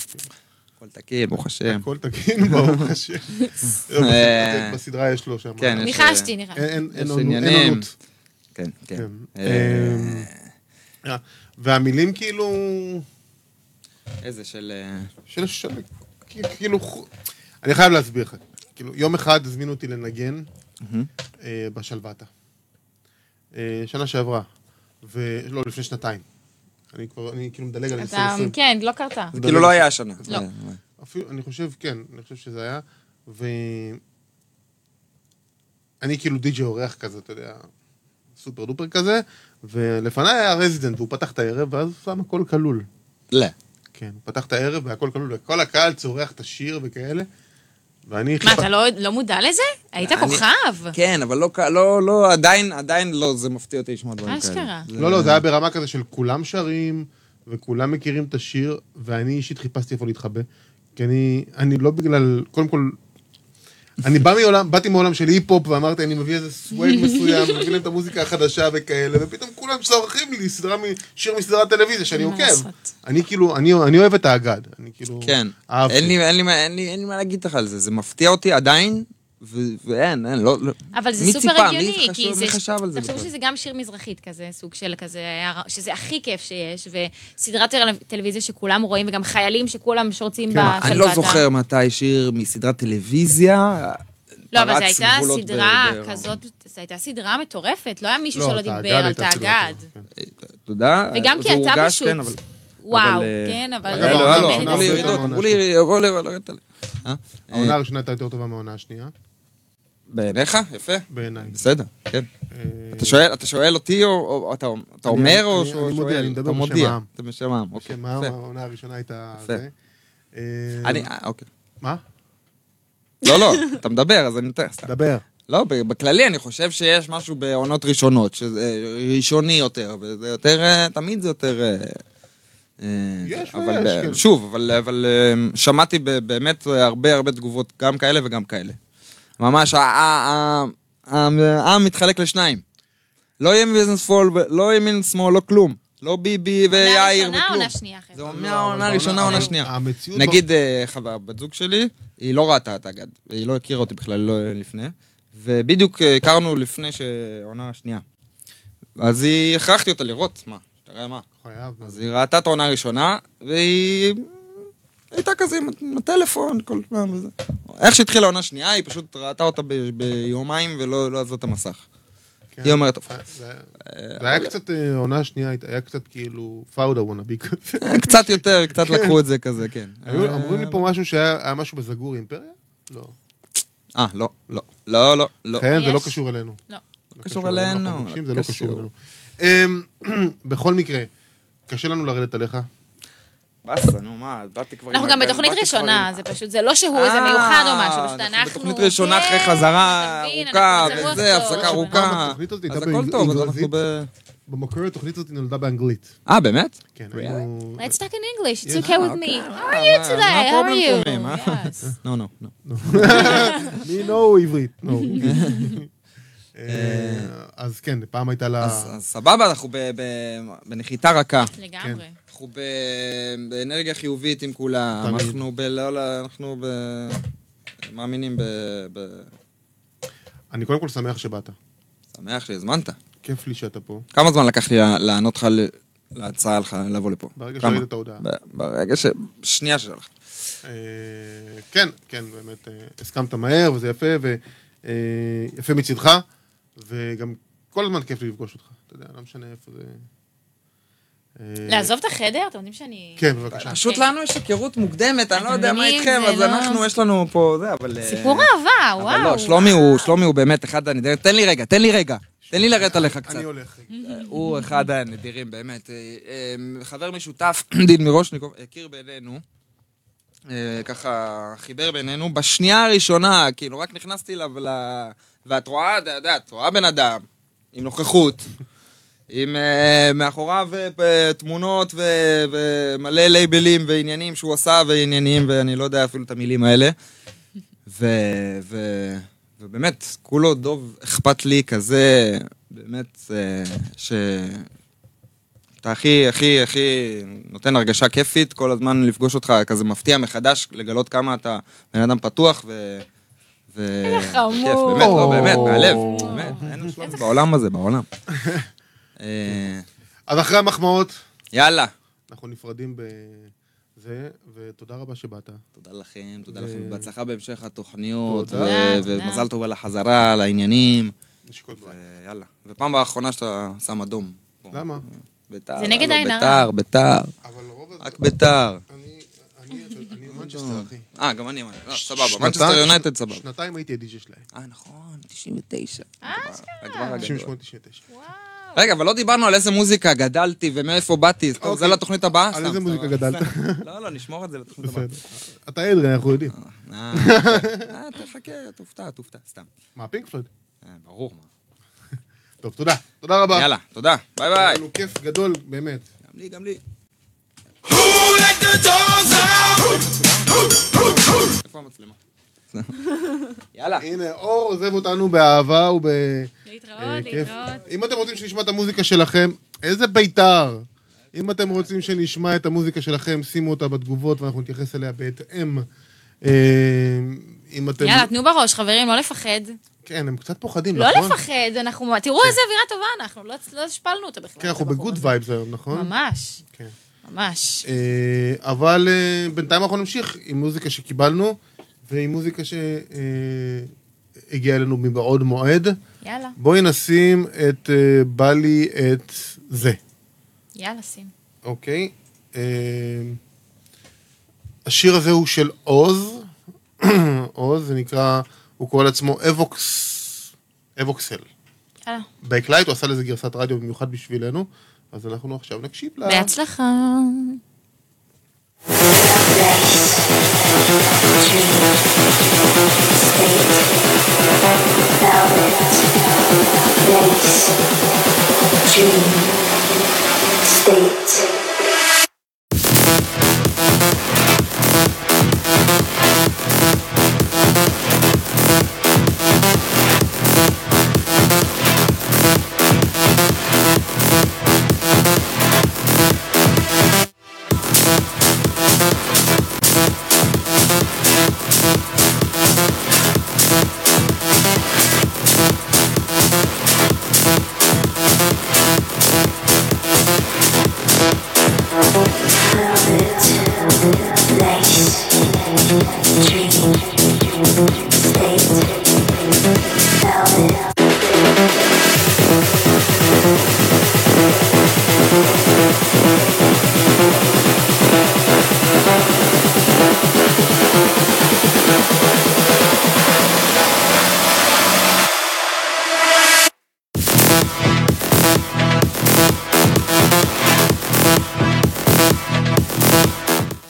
D: הכל תקין, ברוך השם.
A: הכל תקין, ברוך השם. לא, בסדרה- בסדרה יש לו שם.
D: אה. כן, יש,
B: ניחשתי, ניחשתי.
A: אין- אין-
D: יש
A: אין עונות- אין
D: עניינים.
A: עונות.
D: כן, כן.
A: כן.
D: אה,
A: אה, והמילים כאילו...
D: איזה של... אה,
A: של... של- כאילו... ח- אני חייב להסביר לך. כאילו, יום אחד הזמינו אותי לנגן אה, בשלוותה. אה, שנה שעברה. ולא, לפני שנתיים. אני כבר, אני כאילו מדלג על
B: אתה,
A: 2020.
B: כן, לא קרתה.
D: זה כאילו לא היה השנה.
B: לא.
D: אה,
A: אפילו, אני חושב, כן, אני חושב שזה היה, ו... אני כאילו די.ג'י אורח כזה, אתה יודע, סופר דופר כזה, ולפניי היה רזידנט, והוא פתח את הערב, ואז הוא שם הכל כלול.
D: לא.
A: כן, הוא פתח את הערב והכל כלול, וכל הקהל צורח את השיר וכאלה, ואני...
B: מה, אתה לא- לא מודע לזה? היית
D: אני-
B: כוכב.
D: כן, אבל לא, ק- לא, לא, עדיין, עדיין לא, זה מפתיע אותי לשמוע דברים כאלה.
B: אשכרה.
A: לא, לא, זה היה ברמה כזה של כולם שרים, וכולם מכירים את השיר, ואני אישית חיפשתי איפה להתחבא. כי אני, אני לא בגלל, קודם כל, אני בא מעולם, באתי מעולם של היפ-הופ, ואמרתי, אני מביא איזה סווייג מסוים, מביא להם את המוזיקה החדשה וכאלה, ופתאום כולם צורכים לי סדרה, מ- שיר מסדרת טלוויזיה שאני
B: מה
A: עוקב.
B: לעשות?
A: אני כאילו, אני, אני אוהב את האגד, אני כאילו...
D: כן.
A: אהבתי.
D: אין לי, אין, לי, מה- אין, לי, אין לי מה להגיד לך על זה, זה מפתיע אותי עדיין, ו, ואין, אין, לא... לא.
B: אבל זה
D: מי
B: סופר
D: ציפה?
B: הגיוני,
D: מי חשב,
B: כי זה...
D: מי חשב על זה
B: תחשוב
D: בכלל?
B: שזה גם שיר מזרחית כזה, סוג של כזה, היה- שזה הכי כיף שיש, וסדרת טל- טלוויזיה שכולם רואים, וגם חיילים שכולם שורצים בשלוותה.
D: אני לא זוכר מתי שיר מסדרת טלוויזיה.
B: לא, אבל זו
D: פרץ
B: הייתה
D: גבולות ב-
B: סדרה
D: בעירום.
B: כזאת, זו הייתה סדרה מטורפת, לא היה מישהו
A: לא,
B: שלא
A: את האגד
B: דיבר על
A: הייתה סדרה
B: תאגד.
A: טובה, כן.
D: תודה.
B: וגם כי
D: זה
B: אתה
D: הורגש,
B: פשוט...
D: כן, אבל-
B: וואו,
D: אבל, אה,
B: כן, אבל...
A: אגב,
D: הלו,
A: העונה
D: הלו,
A: הראשונה
D: אמרו
A: הרבה
D: לי
B: לא
D: ירידות,
A: מהעונה
D: אמרו לי, בואו לרדת עליי. אה?
A: כן. העונה
D: אה,
A: הראשונה הייתה יותר טובה מהעונה השנייה,
D: בעיניך? יפה.
A: בעיניי.
D: בסדר, כן.
A: אה,
D: אתה שואל, אתה שואל אותי, או- או אתה אתה
A: אני-
D: אומר,
A: אני-
D: או
A: אני
D: שהוא
A: מודיע,
D: שואל?
A: אני מדבר
D: אתה
A: בשם
D: מודיע,
A: העם.
D: אתה בשם העם, אוקיי.
A: שמה,
D: יפה.
A: כן, העונה הראשונה הייתה...
D: יפה.
A: זה. אה,
D: אני, אה, אוקיי.
A: מה?
D: לא, לא, אתה מדבר, אז אני נותן סתם.
A: דבר.
D: לא, ב- בכללי אני חושב שיש משהו בעונות ראשונות, שזה אה, ראשוני יותר, וזה יותר, אה, תמיד זה יותר... אה, אה,
A: יש
D: אבל,
A: ויש,
D: אה,
A: כן.
D: שוב, אבל- אבל אה, שמעתי ב- באמת אה, הרבה הרבה תגובות, גם כאלה וגם כאלה. ממש, ה- ה- ה- ה- העם מתחלק לשניים. לא ימין שמאל, ו- לא ימין שמאל, לא כלום. לא ביבי
B: עונה
D: ויאיר
B: ראשונה,
D: וכלום.
B: עונה שנייה, חבר'ה.
D: זה מהעונה הראשונה, עונה שנייה.
A: המציאות... לא-
D: נגיד, אה, חווה, בת זוג שלי, היא לא ראתה את האגד, היא לא הכירה אותי בכלל לא לפני, ובדיוק אה, הכרנו לפני שהעונה שנייה. אז היא, הכרחתי אותה לראות, מה, תראה מה.
A: חייב.
D: אז היא ראתה את העונה הראשונה, והיא הייתה כזה עם עם הטלפון כל פעם וזה. איך שהתחילה העונה שנייה, היא פשוט ראתה אותה ב- ביומיים ולא לא עזבה את המסך.
A: כן.
D: היא אומרת,
A: זה- זה זה היה קצת, אה, העונה השנייה הייתה- היה קצת כאילו פאודה וונאבי כזה.
D: "אה, קצת יותר, קצת לקחו את זה כזה, כן.
A: היו- אמרו לי פה משהו שהיה היה משהו בזגור אימפריה? לא.
D: אה, לא, לא, לא, לא, לא.
A: כן, זה לא
B: יש.
A: קשור אלינו.
B: לא.
D: לא קשור אלינו.
A: אנחנו מבקשים, זה לא קשור
D: קשור.
A: אלינו. אמ, בכל מקרה, קשה לנו לרדת עליך.
D: באסה, נו מה, באתי כבר...
B: אנחנו
D: עם
B: גם
D: הגל,
B: בתוכנית
D: באתי כבר
B: ראשונה,
D: עם-
B: זה פשוט, זה לא שהוא איזה מיוחד או משהו, פשוט
D: אה,
B: אנחנו...
D: בתוכנית ראשונה אחרי
B: כן,
D: חזרה
B: אתה מבין,
D: ארוכה,
B: אנחנו במצב
D: וזה,
B: רוח טוב.
D: הפסקה
A: פעם
D: ארוכה.
A: התוכנית הזאת
D: אז
A: הייתה
D: הכל
A: באנג-
D: טוב, אז
A: באנגלית.
D: אנחנו ב...
A: במקור התוכנית הזאת נולדה באנגלית.
D: אה, באמת?
A: כן,
D: Really?
A: היינו...
B: Let's talk in English, it's okay with me. How are
D: אה,
B: you
D: מה-
B: today? How
D: מה
B: are
D: הפרובלם
B: you?
D: שלכם, אה?
B: Yes.
D: לא, לא, לא.
A: מי נו עברית. נו. אה, אז כן, פעם הייתה לה...
D: אז אז סבבה, אנחנו ב- ב- בנחיתה רכה.
B: לגמרי.
D: אנחנו ב- באנרגיה חיובית עם כולם.
A: תמיד.
D: אנחנו ב... לא, לא, אנחנו ב... מאמינים ב... ב-
A: אני קודם כל שמח שבאת.
D: שמח שהזמנת.
A: כיף לי שאתה פה.
D: כמה זמן לקח לי לה- לענות לך, ל- להצעה לך לבוא לפה?
A: ברגע
D: כמה?
A: שראית את ההודעה.
D: ב- ברגע ש... שנייה שלך.
B: אוקיי.
A: אה, כן, כן, באמת, אה, הסכמת מהר, וזה יפה, ויפה מצידך, וגם כל הזמן כיף לי לפגוש אותך, אתה יודע, לא משנה איפה זה... אה,
B: לעזוב את החדר? אתם יודעים שאני...
A: כן, בבקשה.
D: פשוט לנו יש היכרות מוקדמת, אני לא יודע מה
B: אדוני,
D: איתכם,
B: זה
D: אז
B: לא-
D: אנחנו, יש לנו פה, זה, אבל... אה,
B: סיפור אהבה, וואו.
D: אבל לא, שלומי הוא, שלומי הוא באמת אחד הנדירים. תן לי רגע, תן לי רגע. תן לי לרדת עליך קצת.
A: אני הולך. רגע.
D: הוא אחד הנדירים, באמת. אה, אה, חבר משותף, דין מירושניקוב, הכיר בינינו. אה, ככה חיבר בינינו, בשנייה הראשונה, כאילו, רק נכנסתי אליו ל... ואת רואה, אתה יודע, את רואה בן אדם, עם נוכחות, עם אה, מאחוריו אה, פ- תמונות ו... ומלא לייבלים ועניינים שהוא עשה ועניינים, ואני לא יודע אפילו את המילים האלה. ו... ו... ובאמת, כולו דוב אכפת לי כזה, באמת, אה, ש... אתה הכי, הכי, הכי נותן הרגשה כיפית, כל הזמן לפגוש אותך כזה מפתיע מחדש, לגלות כמה אתה בן אדם פתוח ו... ו...
B: איזה חמוד.
D: כיף, באמת, לא, באמת, מהלב,
A: או.
D: באמת, אין לו שלום בעולם הזה, בעולם. אה,
A: אז אחרי המחמאות,
D: יאללה.
A: אנחנו נפרדים בזה, ותודה רבה שבאת.
D: תודה לכם, תודה
A: ו-
D: לכם, בהצלחה בהמשך התוכניות,
A: אה. תודה.
D: ו-
B: תודה.
D: ומזל טוב על החזרה, על העניינים.
A: נשקול דברים.
D: יאללה. ופעם האחרונה שאתה שם אדום.
A: למה?
D: ביתר.
B: זה נגד
D: לא,
B: עין הרע.
D: ביתר, ביתר,
A: אבל לרוב...
D: רק ביתר.
A: אני... אני... אני מנצ'סטר, אחי.
D: אה, גם אני אמרתי. לא, סבבה,
A: שנתיים-
D: מנצ'סטר יונייטד סבבה.
A: שנתיים הייתי הדי.ג'י שלהם.
D: אה, נכון, 99. הדבר הגדול.
A: 98-99.
D: רגע, אבל לא דיברנו על איזה מוזיקה גדלתי ומאיפה באתי, טוב, זה
A: אוקיי.
D: לתוכנית הבאה?
A: על
D: סתם,
A: איזה
D: סתם,
A: מוזיקה
D: סתם.
A: גדלת?
D: לא, לא, נשמור את זה לתוכנית הבאה.
A: בסדר. אתה אדרי, אנחנו יודעים.
D: אה, אה, תחכה, תופתע, תופתע, סתם.
A: מה, פינק פלויד?
D: אה, ברור, מה.
A: טוב, תודה. תודה רבה.
D: יאללה, תודה, ביי
A: היה
D: ביי.
A: לנו כיף גדול, באמת.
D: גם לי, גם לי. איפה המצלמה? יאללה.
A: הנה, אור עוזב אותנו באהבה וב... אה,
B: להתראות,
A: כיף.
B: להתראות.
A: אם אתם רוצים שנשמע את המוזיקה שלכם, איזה בית"ר! אם אתם רוצים שנשמע את המוזיקה שלכם, שימו אותה בתגובות ואנחנו נתייחס אליה בהתאם. אה, אם אתם...
B: יאללה, תנו בראש, חברים, לא לפחד.
A: כן, הם קצת פוחדים,
B: לא
A: נכון?
B: לפחד, אנחנו...
D: כן.
B: תראו איזה אווירה טובה אנחנו, לא- לא השפלנו אותה בכלל.
A: כן, אנחנו
B: את הבחור
A: בגוד
B: הזה.
A: וייבס היום, נכון?
B: לא ממש,
A: כן.
B: ממש.
A: אה, אבל אה, בינתיים אנחנו נמשיך עם מוזיקה שקיבלנו ועם מוזיקה שהגיעה אלינו מבעוד מועד.
B: יאללה,
A: בואי נשים את אה, בא לי את זה,
B: יאללה, שים.
A: אוקיי? אה, השיר הזה הוא של עוז. עוז, זה נקרא, הוא קורא לעצמו אבוקס... אבוקסל.
B: יאללה.
A: בקלייט, הוא עשה לזה גרסת רדיו במיוחד בשבילנו, אז אנחנו עכשיו נקשיב לה.
D: אה.
B: בהצלחה.
C: State.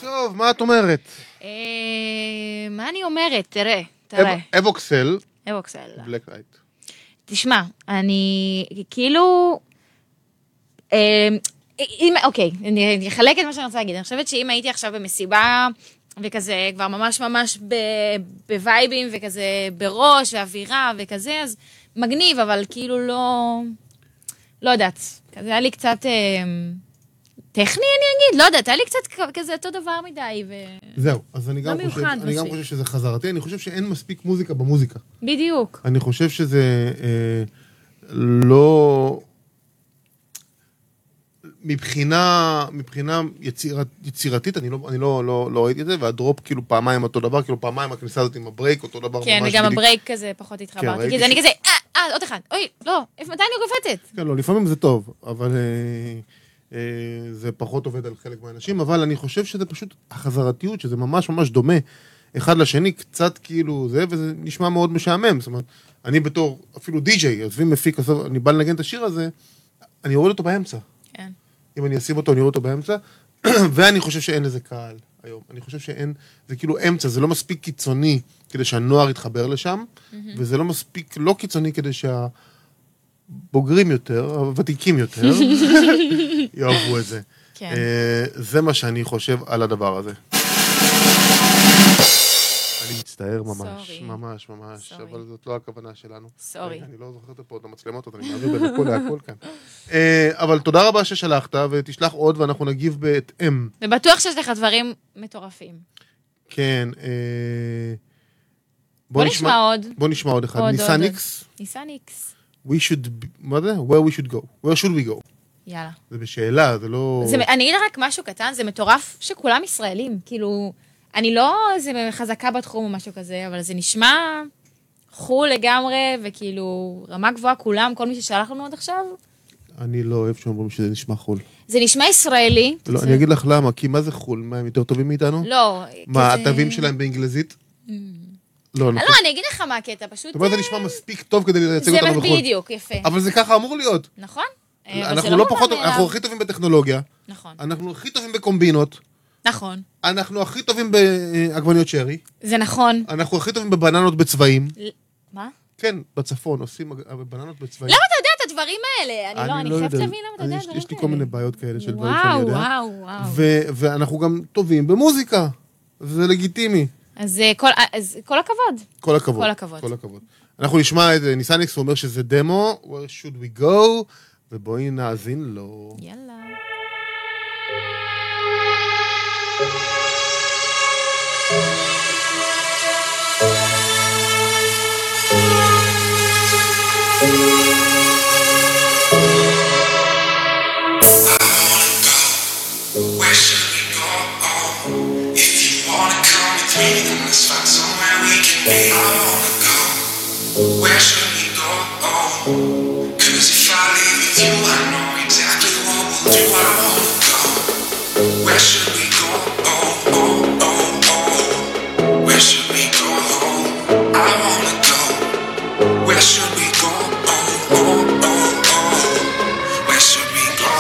A: טוב, מה את אומרת?
B: אה, מה אני אומרת? תראה, תראה. לא.
A: אב- אבוקסל,
B: אבוקסל.
A: בלק לייט.
B: תשמע, אני כאילו... אה, אם, אוקיי, אני אני אחלק את מה שאני רוצה להגיד. אני חושבת שאם הייתי עכשיו במסיבה, וכזה כבר ממש ממש ב, בווייבים, וכזה בראש, ואווירה, וכזה, אז מגניב, אבל כאילו לא... לא יודעת. כזה היה לי קצת... אה, טכני, אני אגיד, לא יודעת, היה לי קצת כזה אותו דבר מדי,
A: זהו, אז אני גם
B: לא
A: חושב-
B: מיוחד
A: אני גם
B: מספיק.
A: חושב שזה חזרתי, אני חושב שאין מספיק מוזיקה במוזיקה.
B: ובדיוק.
A: אני חושב שזה אה, לא... מבחינה, מבחינה יצירת, יצירתית, אני, לא, אני לא, לא, לא ראיתי את זה, והדרופ כאילו פעמיים אותו דבר, כאילו פעמיים הכניסה הזאת עם הברייק, אותו דבר
B: כן,
A: לא ממש. בדיוק.
B: וגם
A: כן,
B: הברייק כזה פחות התחברתי,
A: ראיתי
B: כי זה אני
A: ש-
B: כזה, אה, אה, עוד אחד, אוי, לא, איפה- מתי אני קופצת?
A: כן, לא, לפעמים זה טוב, אבל אה, אה, זה פחות עובד על חלק מהאנשים, אבל אני חושב שזה פשוט החזרתיות, שזה ממש ממש דומה אחד לשני, קצת כאילו זה, וזה נשמע מאוד משעמם. זאת אומרת, אני בתור אפילו די-ג'יי, עזבי מפיק, עזוב, אני בא לנגן את השיר הזה, אני אוריד אותו באמצע.
B: כן.
A: אם אני אשים אותו, אני אוריד אותו באמצע, ואני חושב שאין לזה קהל היום. אני חושב שאין, זה כאילו אמצע, זה לא מספיק קיצוני כדי שהנוער יתחבר לשם, וזה לא מספיק לא קיצוני כדי שה... בוגרים יותר, הוותיקים יותר, יאהבו את זה.
B: כן.
A: אה, זה מה שאני חושב על הדבר הזה. אני מצטער ממש,
B: Sorry.
A: ממש ממש,
B: Sorry.
A: אבל זאת לא הכוונה שלנו.
B: Sorry.
A: רגע, אני לא זוכר את פה עוד המצלמות, אז אני מעביר בין הכל להכל כאן. אה, אבל תודה רבה ששלחת, ותשלח עוד, ואנחנו נגיב בהתאם.
B: ובטוח שיש לך דברים מטורפים.
A: כן, אה,
B: בוא נשמע עוד.
A: בוא נשמע עוד אחד.
B: עוד, עוד,
A: ניסן
B: עוד.
A: איקס,
B: ניסן איקס.
A: we should, be- מה זה? where we should go. where should we go.
B: יאללה.
A: זה בשאלה, זה לא...
B: זה- אני אגיד רק משהו קטן, זה מטורף שכולם ישראלים, כאילו, אני לא איזה חזקה בתחום או משהו כזה, אבל זה נשמע חול לגמרי, וכאילו, רמה גבוהה כולם, כל מי ששלח לנו עד עכשיו,
A: אני לא אוהב שאומרים שזה נשמע חול.
B: זה נשמע ישראלי.
A: לא, אני אגיד לך למה, כי מה זה חו"ל? מה, הם יותר טובים מאיתנו?
B: לא.
A: מה,
B: כזה-
A: התווים שלהם באנגלזית? לא,
B: אה,
A: נכון.
B: לא, אני אגיד לך מה הקטע, פשוט...
A: זאת אומרת, זה
B: אה,
A: נשמע מספיק טוב כדי לייצג
B: זה
A: אותנו בחו"ל.
B: בדיוק, יפה.
A: אבל זה ככה אמור להיות.
B: נכון? אה, אבל זה
A: אנחנו לא
B: מובן
A: פחות,
B: מאליו.
A: אנחנו הכי טובים בטכנולוגיה,
B: נכון.
A: אנחנו הכי טובים בקומבינות,
B: נכון.
A: אנחנו הכי טובים בעגבניות שרי,
B: זה נכון.
A: אנחנו הכי טובים בבננות בצבעים.
B: מה?
A: כן, בצפון עושים עג- בננות בצבעים.
B: למה אתה יודע את הדברים האלה? אני לא, אני חייבת
A: יודע.
B: להבין למה אתה
A: אני-
B: יודע את הדברים האלה.
A: יש לי כל מיני בעיות כאלה של דברים שאני
B: וואו,
A: יודע.
B: וואו, וואו.
A: ו- ואנחנו גם טובים במוזיקה, וזה לגיטימי.
B: אז אה, כל- אז כל הכבוד.
A: כל הכבוד.
B: כל הכבוד.
A: כל הכבוד. אנחנו נשמע את אה, ניסניקס, הוא אומר שזה דמו, where should we go, ובואי נאזין לו.
B: יאללה.
F: Where should we go? If you wanna come with me, then let's find somewhere we can be. I wanna go. Where should we go? Cause if I leave with you, I know exactly what we'll do. I wanna go. Where should we go? Oh, oh, oh, oh. Where should we go? I wanna go. Where should we go? Oh, oh, oh, oh. Where should we go?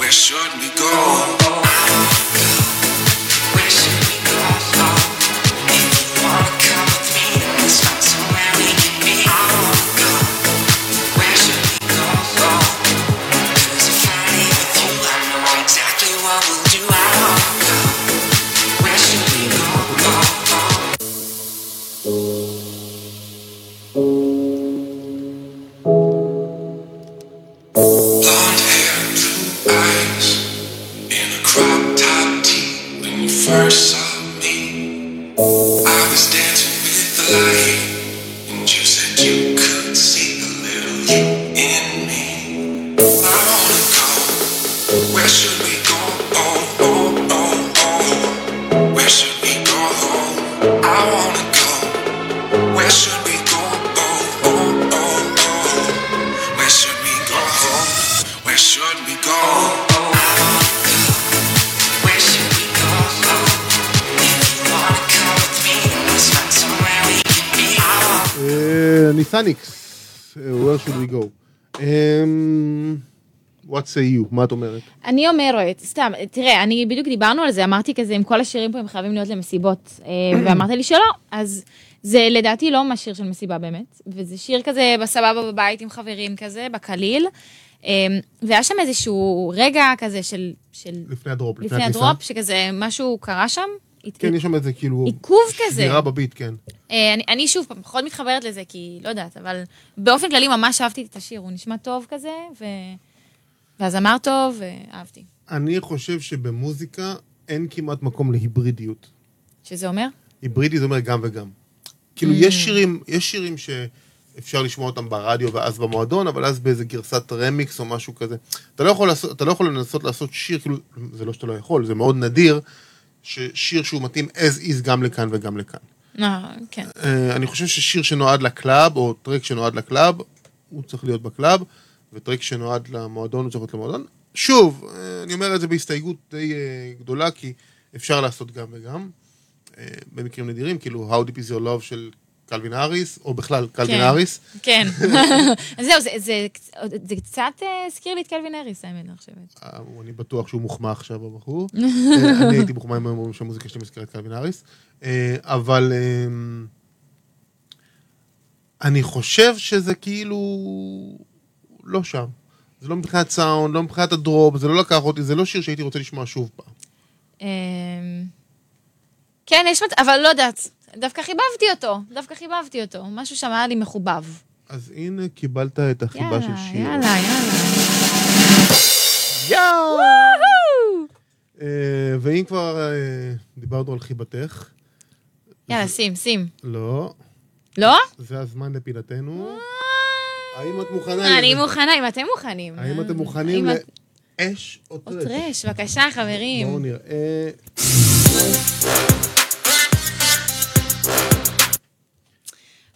F: Where should we go? Where should we go? If you wanna come with me, then let's find somewhere we can be. I wanna go. Where should we go? 'Cause if I leave with you, I know exactly what we'll do. I wanna go. Where should we go? Blonde hair, blue eyes, in a crop top tee when you first saw me. I was dancing with the light, and you said you could see the little you in me. I wanna go. Where should we go? Oh, oh, oh, oh. Where should we go? I wanna go. Where should we go? Oh, oh, oh, oh. Where should we go? Where should we go? Where should we go? If you wanna come with me, then let's find somewhere we can be. I
A: אה,
F: wanna
A: ניסניקס, אה, where should we go? אמ, what say you, מה את אומרת?
B: אני אומרת, סתם, תראה, אני בדיוק דיברנו על זה, אמרתי כזה, עם כל השירים פה הם חייבים להיות למסיבות, אה, ואמרת לי שלא, אז זה לדעתי לא ממש שיר של מסיבה באמת, וזה שיר כזה בסבבה בבית עם חברים כזה, בקליל, אה, והיה שם איזשהו רגע כזה של, של
A: לפני הדרופ, לפני
B: לפני
A: הכניסה.
B: הדרופ, שכזה משהו קרה שם, הת-
A: כן, יש שם איזה כאילו...
B: עיכוב כזה.
A: שבירה בביט, כן.
B: אה, אני, אני שוב פעם פחות מתחברת לזה, כי לא יודעת, אבל באופן כללי ממש אהבתי את השיר, הוא נשמע טוב כזה, ו... והזמר טוב, ואהבתי.
A: אני חושב שבמוזיקה אין כמעט מקום להיברידיות.
B: שזה אומר?
A: היברידי זה אומר גם וגם. כאילו, יש שירים, יש שירים שאפשר לשמוע אותם ברדיו ואז במועדון, אבל אז באיזה גרסת רמיקס או משהו כזה. אתה לא יכול, לעשות, אתה לא יכול לנסות לעשות שיר, כאילו, זה לא שאתה לא יכול, זה מאוד נדיר, ששיר שהוא מתאים as is גם לכאן וגם לכאן.
B: לא, כן.
A: אה, אני חושב ששיר שנועד לקלאב, או טרק שנועד לקלאב, הוא צריך להיות בקלאב, וטרק שנועד למועדון, הוא צריך להיות למועדון. שוב, אה, אני אומר את זה בהסתייגות די אה, גדולה, כי אפשר לעשות גם וגם, אה, במקרים נדירים, כאילו How Deep is Your Love של קלווין האריס, או בכלל קלווין
B: כן.
A: האריס.
B: כן. אז זהו, זה, זה, זה, זה קצת אה, הזכיר לי את קלווין האריס, האמת, אני חושבת.
A: אה, אני בטוח שהוא מוחמא עכשיו, הבחור. אה, אני הייתי מוחמא אם היו אומרים שהמוזיקה שלי מזכירה את קלווין האריס. אה, אבל אמ, אני חושב שזה כאילו לא שם. זה לא מבחינת סאונד, לא מבחינת הדרופ, זה לא לקח אותי, זה לא שיר שהייתי רוצה לשמוע שוב פעם.
B: אה, כן, יש מצב, אבל לא יודעת. דווקא חיבבתי אותו, דווקא חיבבתי אותו. משהו שם היה לי מחובב.
A: אז הנה, קיבלת את החיבה
B: יאללה,
A: של שיר.
B: יאללה, יאללה.
A: אה, ואם כבר אה, דיברנו על חיבתך,
B: יאללה, שים, שים.
A: לא,
B: לא?
A: זה הזמן לפינתנו. האם את מוכנה?
B: אני
A: לזה?
B: מוכנה, אם אתם מוכנים.
A: האם אתם
B: אה,
A: מוכנים
B: האם את-
A: לאש או טרש?
B: טרש, בבקשה, חברים.
A: בואו נראה.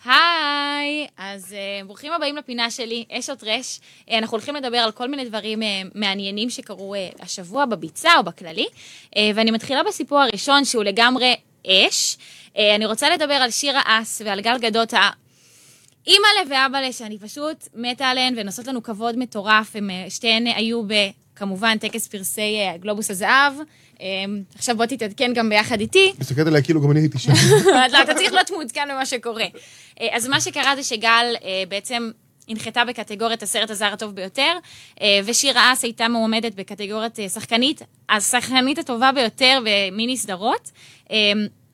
B: היי, אז אה, ברוכים הבאים לפינה שלי, אש או טרש. אה, אנחנו הולכים לדבר על כל מיני דברים אה, מעניינים שקרו אה, השבוע בביצה או בכללי, אה, ואני מתחילה בסיפור הראשון שהוא לגמרי אש. אה, אני רוצה לדבר על שירה אס ועל גל גדות ה... אימא'לה ואבא'לה, שאני פשוט מתה עליהן, והן עושות לנו כבוד מטורף. הן אה, שתיהן היו ב... כמובן, טקס פרסי אה, גלובוס הזהב. אה, עכשיו בוא תתעדכן גם ביחד איתי.
A: מסתכלת עליי כאילו גם אני הייתי שם.
B: לא, אתה צריך להיות מעודכן במה שקורה. אה, אז מה שקרה זה שגל אה, בעצם הנחתה בקטגוריית הסרט הזר הטוב ביותר, אה, ושירה אס הייתה מועמדת בקטגוריית אה, שחקנית, השחקנית הטובה ביותר במיני סדרות, אה,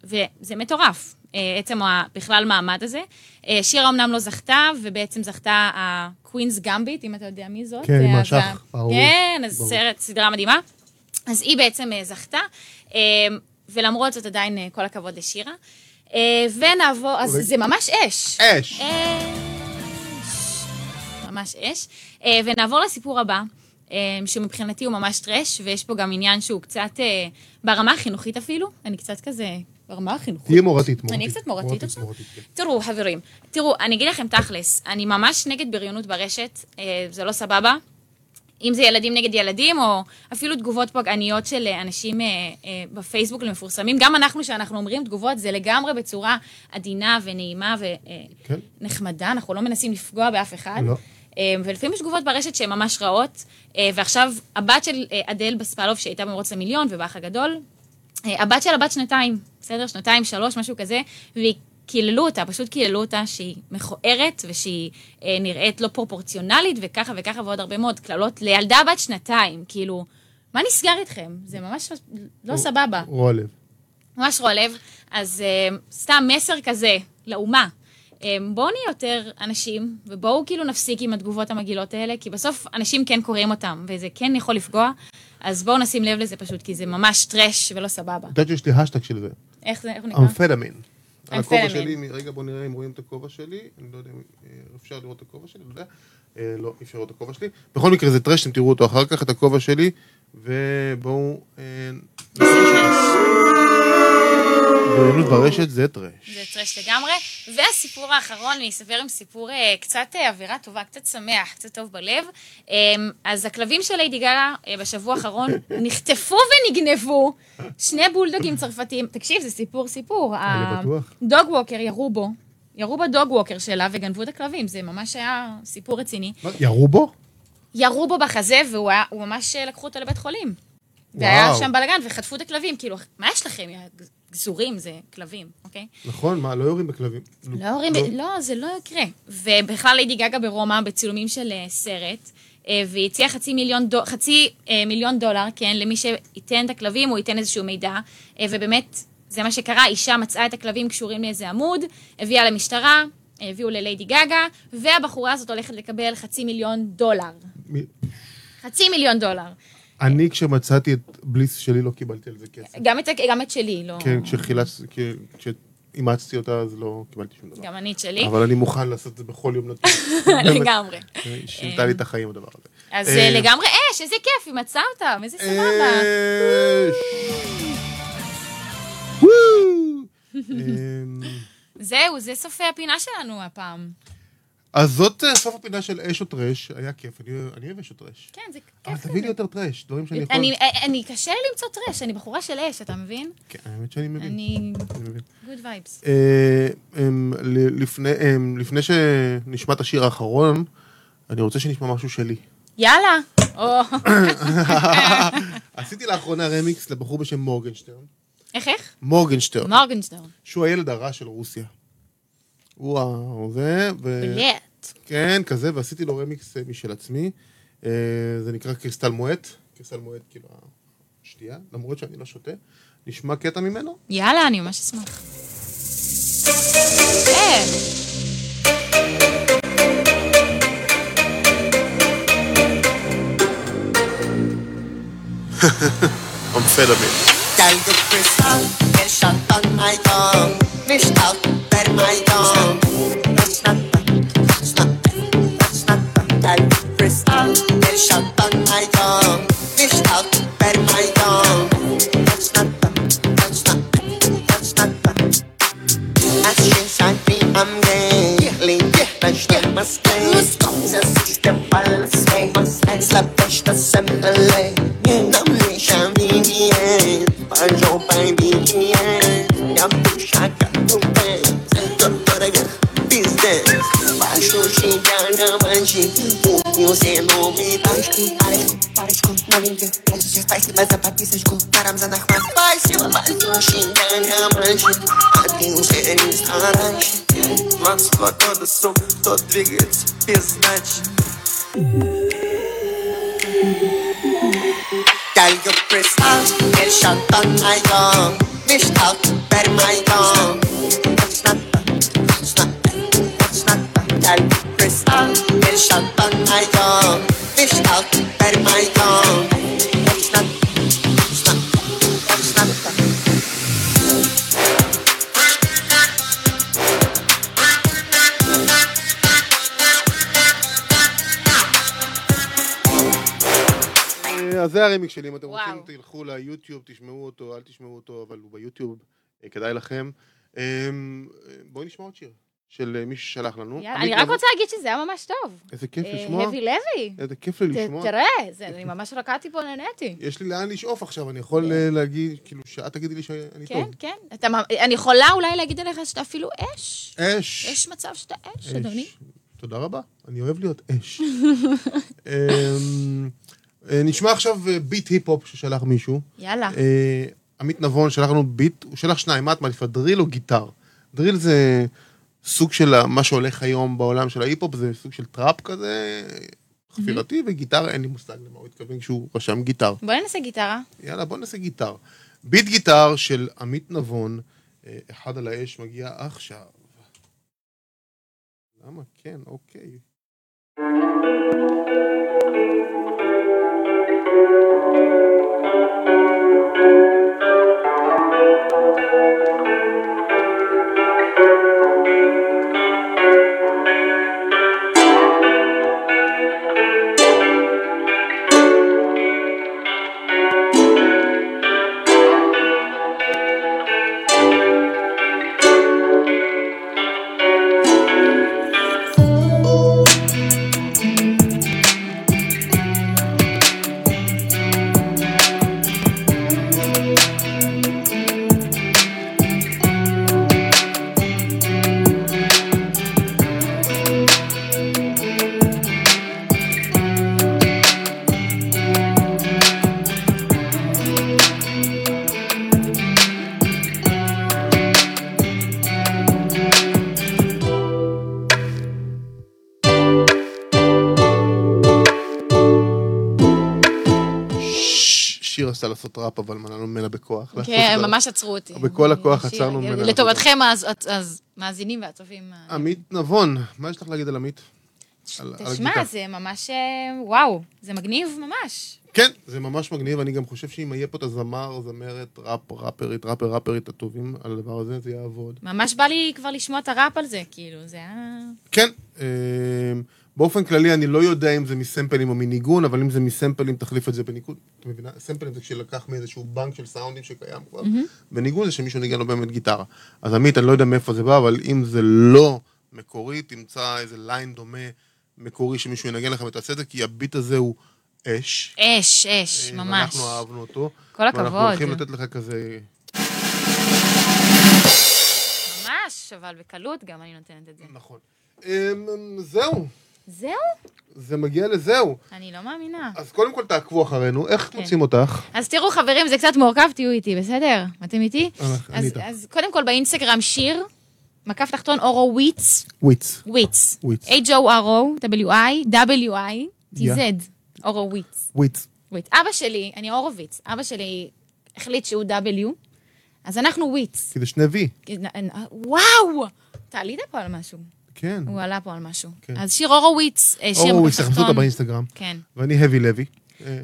B: וזה מטורף, אה, עצם ה- בכלל מעמד הזה. אה, שירה אמנם לא זכתה, ובעצם זכתה הקווינס גמביט, אם אתה יודע מי זאת.
A: כן, עם
B: אה, אז ה-
A: השח, ברור.
B: כן, אז
A: ברור.
B: סרט, סדרה מדהימה. אז היא בעצם אה, זכתה, אה, ולמרות זאת עדיין אה, כל הכבוד לשירה. אה, ונעבור, אז
A: אולי-
B: זה ממש אש.
A: אש.
B: אש. ממש אש. אה, ונעבור לסיפור הבא, אה, שמבחינתי הוא ממש טרש, ויש פה גם עניין שהוא קצת אה, ברמה החינוכית אפילו. אני קצת כזה, ברמה החינוכית.
A: תהיי מורתית, מורתית.
B: אני קצת מורתית עכשיו.
A: מורתית, כן.
B: תראו, חברים, תראו, אני אגיד לכם תכלס, אני ממש נגד בריונות ברשת, אה, זה לא סבבה. אם זה ילדים נגד ילדים, או אפילו תגובות פוגעניות של אה, אנשים אה, אה, בפייסבוק למפורסמים. גם אנחנו, שאנחנו אומרים תגובות, זה לגמרי בצורה עדינה ונעימה
A: כן.
B: ונחמדה, אנחנו לא מנסים לפגוע באף אחד.
A: לא.
B: אה, ולפעמים יש תגובות ברשת שהן ממש רעות, אה, ועכשיו הבת של אה, אדל בספלוף, שהייתה במרוץ למיליון ובאח הגדול, אה, הבת שלה בת שנתיים, בסדר? שנתיים, שלוש, משהו כזה, והיא... קיללו אותה, פשוט קיללו אותה שהיא מכוערת ושהיא אה, נראית לא פרופורציונלית וככה וככה ועוד הרבה מאוד קללות לילדה בת שנתיים, כאילו, מה נסגר איתכם? זה ממש לא סבבה.
A: רוע לב.
B: ממש רוע לב. אז אה, סתם מסר כזה לאומה. אה, בואו נהיה יותר אנשים, ובואו כאילו נפסיק עם התגובות המגעילות האלה, כי בסוף אנשים כן קוראים אותם, וזה כן יכול לפגוע, אז בואו נשים לב לזה פשוט, כי זה ממש טרש ולא סבבה.
A: את יודעת שיש לי השטג של זה.
B: איך זה, איך הוא נקרא?
A: אמפדמין. על
B: אמפדמין.
A: הכובע שלי, רגע בוא נראה אם רואים את הכובע שלי, אני לא יודע אם אה, אפשר לראות את הכובע שלי, לא יודע. אה, לא, אי אפשר לראות את הכובע שלי. בכל מקרה זה טרש, אתם תראו אותו אחר כך, את הכובע שלי, ובואו... אה, נשים אותו. בריונות ברשת זה טרש.
B: זה טרש לגמרי. והסיפור האחרון, אני אספר עם סיפור אה, קצת אה, אווירה טובה, קצת שמח, קצת טוב בלב. אה, אז הכלבים של ליידי גאלה אה, בשבוע האחרון נחטפו ונגנבו שני בולדוגים צרפתיים. תקשיב, זה סיפור סיפור.
A: אני בטוח.
B: הדוג ווקר ירו בו, ירו בדוג ווקר שלה וגנבו את הכלבים, זה ממש היה סיפור רציני.
A: מה, ירו בו?
B: ירו בו בחזה, והוא היה, הוא ממש אה, לקחו אותו לבית חולים. והיה
A: וואו.
B: שם בלאגן, וחטפו את הכלבים, כאילו, מה יש לכם, יא גזורים, זה כלבים, אוקיי?
A: נכון, מה, לא יורים בכלבים.
B: לא ההורים, לא, זה לא יקרה. ובכלל ליידי גגה ברומא, בצילומים של אה, סרט, אה, והיא הציעה חצי מיליון, דו, חצי אה, מיליון דולר, כן, למי שייתן את הכלבים, הוא ייתן איזשהו מידע, אה, ובאמת, זה מה שקרה, אישה מצאה את הכלבים קשורים לאיזה עמוד, הביאה למשטרה, אה, הביאו לליידי גגה, והבחורה הזאת הולכת לקבל חצי מיליון דולר.
A: מי-
B: חצי מיליון דולר.
A: אני כשמצאתי את בליס שלי לא קיבלתי על זה כסף.
B: גם את, גם את שלי, לא...
A: כן, כשחילצתי, כ- כשאימצתי אותה אז לא קיבלתי שום דבר.
B: גם אני את שלי,
A: אבל אני מוכן לעשות את זה בכל יום נתון. באמת.
B: לגמרי.
A: היא שינתה לי את החיים הדבר הזה.
B: אז
A: אה,
B: אה, לגמרי אש, איזה כיף, היא מצאה אותם, איזה סבבה.
A: אש. וואו. אמ,
B: זהו, זה סוף הפינה שלנו הפעם.
A: אז זאת אה, סוף הפינה של אש או טרש, היה כיף, אני אני אוהב אש או טרש.
B: כן, זה
A: אבל
B: כיף.
A: תביא לי יותר טרש, דברים שאני יכול...
B: אני, אה, אני, קשה לי למצוא טרש, אני בחורה של אש, אתה מבין?
A: כן, האמת שאני מבין.
B: אני...
A: אני מבין.
B: גוד וייבס.
A: אה, אמ, ל- לפני, אמ, לפני שנשמע את השיר האחרון, אני רוצה שנשמע משהו שלי.
B: יאללה. או,
A: עשיתי לאחרונה רמיקס לבחור בשם מורגנשטרן.
B: איך איך?
A: מורגנשטרן.
B: מורגנשטרן.
A: שהוא הילד הרע של רוסיה. וואו, זה, ו...
B: בלט.
A: כן, כזה, ועשיתי לו רמיקס אה, משל עצמי. אה, זה נקרא קריסטל מועט. קריסטל מועט, כאילו, השתייה, למרות שאני לא שותה. נשמע קטע ממנו?
B: יאללה, אני ממש אשמח. אה,
A: אמפדמין.
G: Tell the crystal, get shot on my tongue. Fish out per my tongue. That's not bad, that's not bad, that's not bad. Tell the crystal, get shot on my tongue. Fish out per my tongue. That's not bad, that's not bad, that's not bad. As since I've been, I'm gay. Lean, yeah, das Geld. Das ist der Ballastweg, was lässt ich das Semmele. Nämlich am Vivier, Banjo bei Vivier. Ja, du Schaka, du Bett, Doktorge, Piste. Baixo chegando, manche, o meu zelo me dá. Парочку, парочку, новеньких Прячься, спасибо за подписочку Парам за нахват Спасибо большое, я мальчик А ты уже не стараешься 22 года, сум, кто двигается без значит Только представь, где что-то найдем Мечтал теперь моем Точно так, точно так, точно так Только представь, где что-то найдем Мечтал теперь моем Точно так, точно так, точно так
A: אה, אז זה הרימיק שלי, אם אתם
B: וואו.
A: רוצים תלכו ליוטיוב, תשמעו אותו, אל תשמעו אותו, אבל הוא ביוטיוב, אה, כדאי לכם. אה, בואי נשמע עוד שיר של אה, מי ששלח לנו.
B: יאללה,
A: עמית
B: אני רק
A: לבוא-
B: רוצה להגיד שזה היה ממש טוב.
A: איזה כיף
B: אה,
A: לשמוע,
B: לוי לוי.
A: איזה כיף לי
B: ת-
A: לשמוע.
B: תראה, זה- אני ממש רקדתי פה, נהניתי.
A: יש לי לאן לשאוף עכשיו, אני יכול אה, להגיד, כאילו, שאת תגידי לי שאני
B: כן,
A: טוב.
B: כן. אתה מ- אני יכולה אולי להגיד עליך שאתה אפילו אש.
A: אש.
B: יש מצב שאתה אש, אדוני.
A: תודה רבה, אני אוהב להיות אש. אמ, אה, נשמע עכשיו אה, ביט היפ-הופ ששלח מישהו.
B: יאלה.
A: אה, עמית נבון שלח לנו ביט, הוא שלח שניים, מה את מעדיפה, דריל או גיטר? דריל זה סוג של ה- מה שהולך היום בעולם של ההיפ-הופ, זה סוג של טראפ כזה, חפירתי, וגיטר, אין לי מושג למה הוא התכוון כשהוא רשם גיטר.
B: בוא ננסה גיטרה.
A: יאללה, בוא נעשה גיטר. ביט גיטר של עמית נבון, אה, אחד על האש, מגיע עכשיו. למה כן, אוקיי. ש- שיר עשה לעשות ראפ, אבל מנענו ממנה בכוח.
B: כן,
A: לעשות-
B: ממש עצרו אותי.
A: בכל הכוח
B: שיר,
A: עצרנו ממנה.
B: לטובתכם, אז- אז- אז מאזינים אה, והצופים. ה-
A: עמית נבון, מה יש לך להגיד על עמית? על- על
B: תשמע,
A: הגיטר.
B: זה ממש... אה, וואו, זה מגניב ממש.
A: כן, זה ממש מגניב, אני גם חושב שאם יהיה פה את הזמר, זמרת, ראפ, ראפרית, ראפר, ראפרית הטובים על הדבר הזה, זה יעבוד.
B: ממש בא לי כבר לשמוע את הראפ על זה, כאילו, זה היה...
A: כן, אמ, באופן כללי אני לא יודע אם זה מסמפלים או מניגון, אבל אם זה מסמפלים, תחליף את זה בניקוד. את מבינה? סמפלים זה כשלקח מאיזשהו בנק של סאונדים שקיים כבר. בניגון זה שמישהו ניגן לו באמת גיטרה. אז עמית, אני לא יודע מאיפה זה בא, אבל אם זה לא מקורי, תמצא איזה ליין דומה מקורי שמישהו ינגן לך ותעשה את זה, כי הביט הזה הוא אש.
B: אש, אש,
A: אה,
B: ממש.
A: אנחנו אהבנו אותו.
B: כל
A: ואנחנו
B: הכבוד.
A: הולכים לתת לך כזה...
B: ממש, אבל בקלות גם אני נותנת את זה.
A: נכון. אמ, זהו,
B: זהו?
A: זה מגיע לזהו.
B: אני לא מאמינה.
A: אז קודם כל תעקבו אחרינו,
B: כן.
A: איך מוצאים אותך?
B: אז תראו, חברים, זה קצת מורכב, תהיו איתי, בסדר? אתם איתי?
A: אה, אני
B: אז-
A: איתך.
B: אז קודם כל באינסטגרם שיר, מקף תחתון אורו וויץ,
A: וויץ.
B: וויץ.
A: וויץ.
B: H-O-R-O, W-I, W-I,
A: Yeah.
B: T-Z, אורו וויץ.
A: וויץ.
B: וויץ. אבא שלי, אני הורוביץ, אבא שלי החליט שהוא W, אז אנחנו וויץ.
A: כי זה שני וי.
B: וואו! אתה עלית פה על משהו.
A: כן.
B: הוא עלה פה על משהו.
A: כן.
B: אז שיר הורוביץ, אה, שיר
A: אורו, תחפשו אותה
B: תחתון.
A: באינסטגרם.
B: כן.
A: ואני heavy לוי.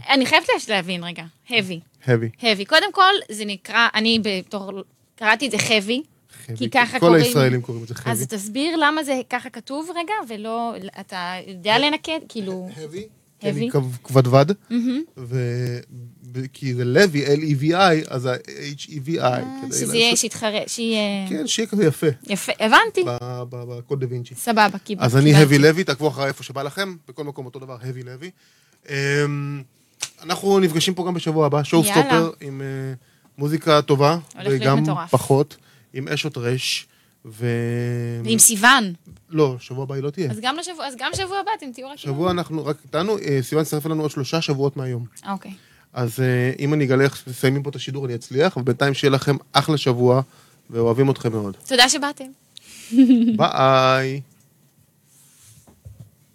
B: אני חייבת לה- להבין רגע, heavy.
A: heavy.
B: heavy. קודם כל, זה נקרא, אני בתור, קראתי את זה heavy,
A: heavy. כן.
B: כי ככה
A: כל
B: קוראים-
A: הישראלים קוראים לזה
B: אז
A: heavy.
B: תסביר למה זה ככה כתוב רגע, ולא, אתה יודע לנקד, כאילו,
A: heavy.
B: heavy.
A: כבדבד. ב- כי זה לוי, L-E-V-I, אז ה-H-E-V-I. כדי
B: אה, שזה
A: לעשות-
B: יהיה, E שיתחרה, שיהיה...
A: כן, שיהיה כזה יפה,
B: יפה, הבנתי.
A: ב- ב- בקוד דה וינצ'י.
B: סבבה, קיבלתי.
A: אז אני
B: קיבלתי.
A: heavy לוי, תעקבו אחריי איפה שבא לכם, בכל מקום אותו דבר, heavy לוי. אמ, אנחנו נפגשים פה גם בשבוע הבא, שואו
B: יאללה.
A: סטופר, עם אה, מוזיקה טובה,
B: הולך להיות
A: וגם
B: מטורף.
A: פחות, עם אש עוד רש, ו...
B: ועם סיוון.
A: לא, שבוע הבא היא לא תהיה.
B: אז גם לשבוע, אז גם שבוע הבא אתם תהיו רק...
A: שבוע אנחנו רק איתנו, אה, סיוון תצטרף אלינו עוד שלושה שבועות מהיום.
B: אה, אוקיי.
A: אז אה, אם אני אגלה איך מסיימים פה את השידור, אני אצליח, ובינתיים שיהיה לכם אחלה שבוע, ואוהבים אתכם מאוד.
B: תודה שבאתם.
A: ביי.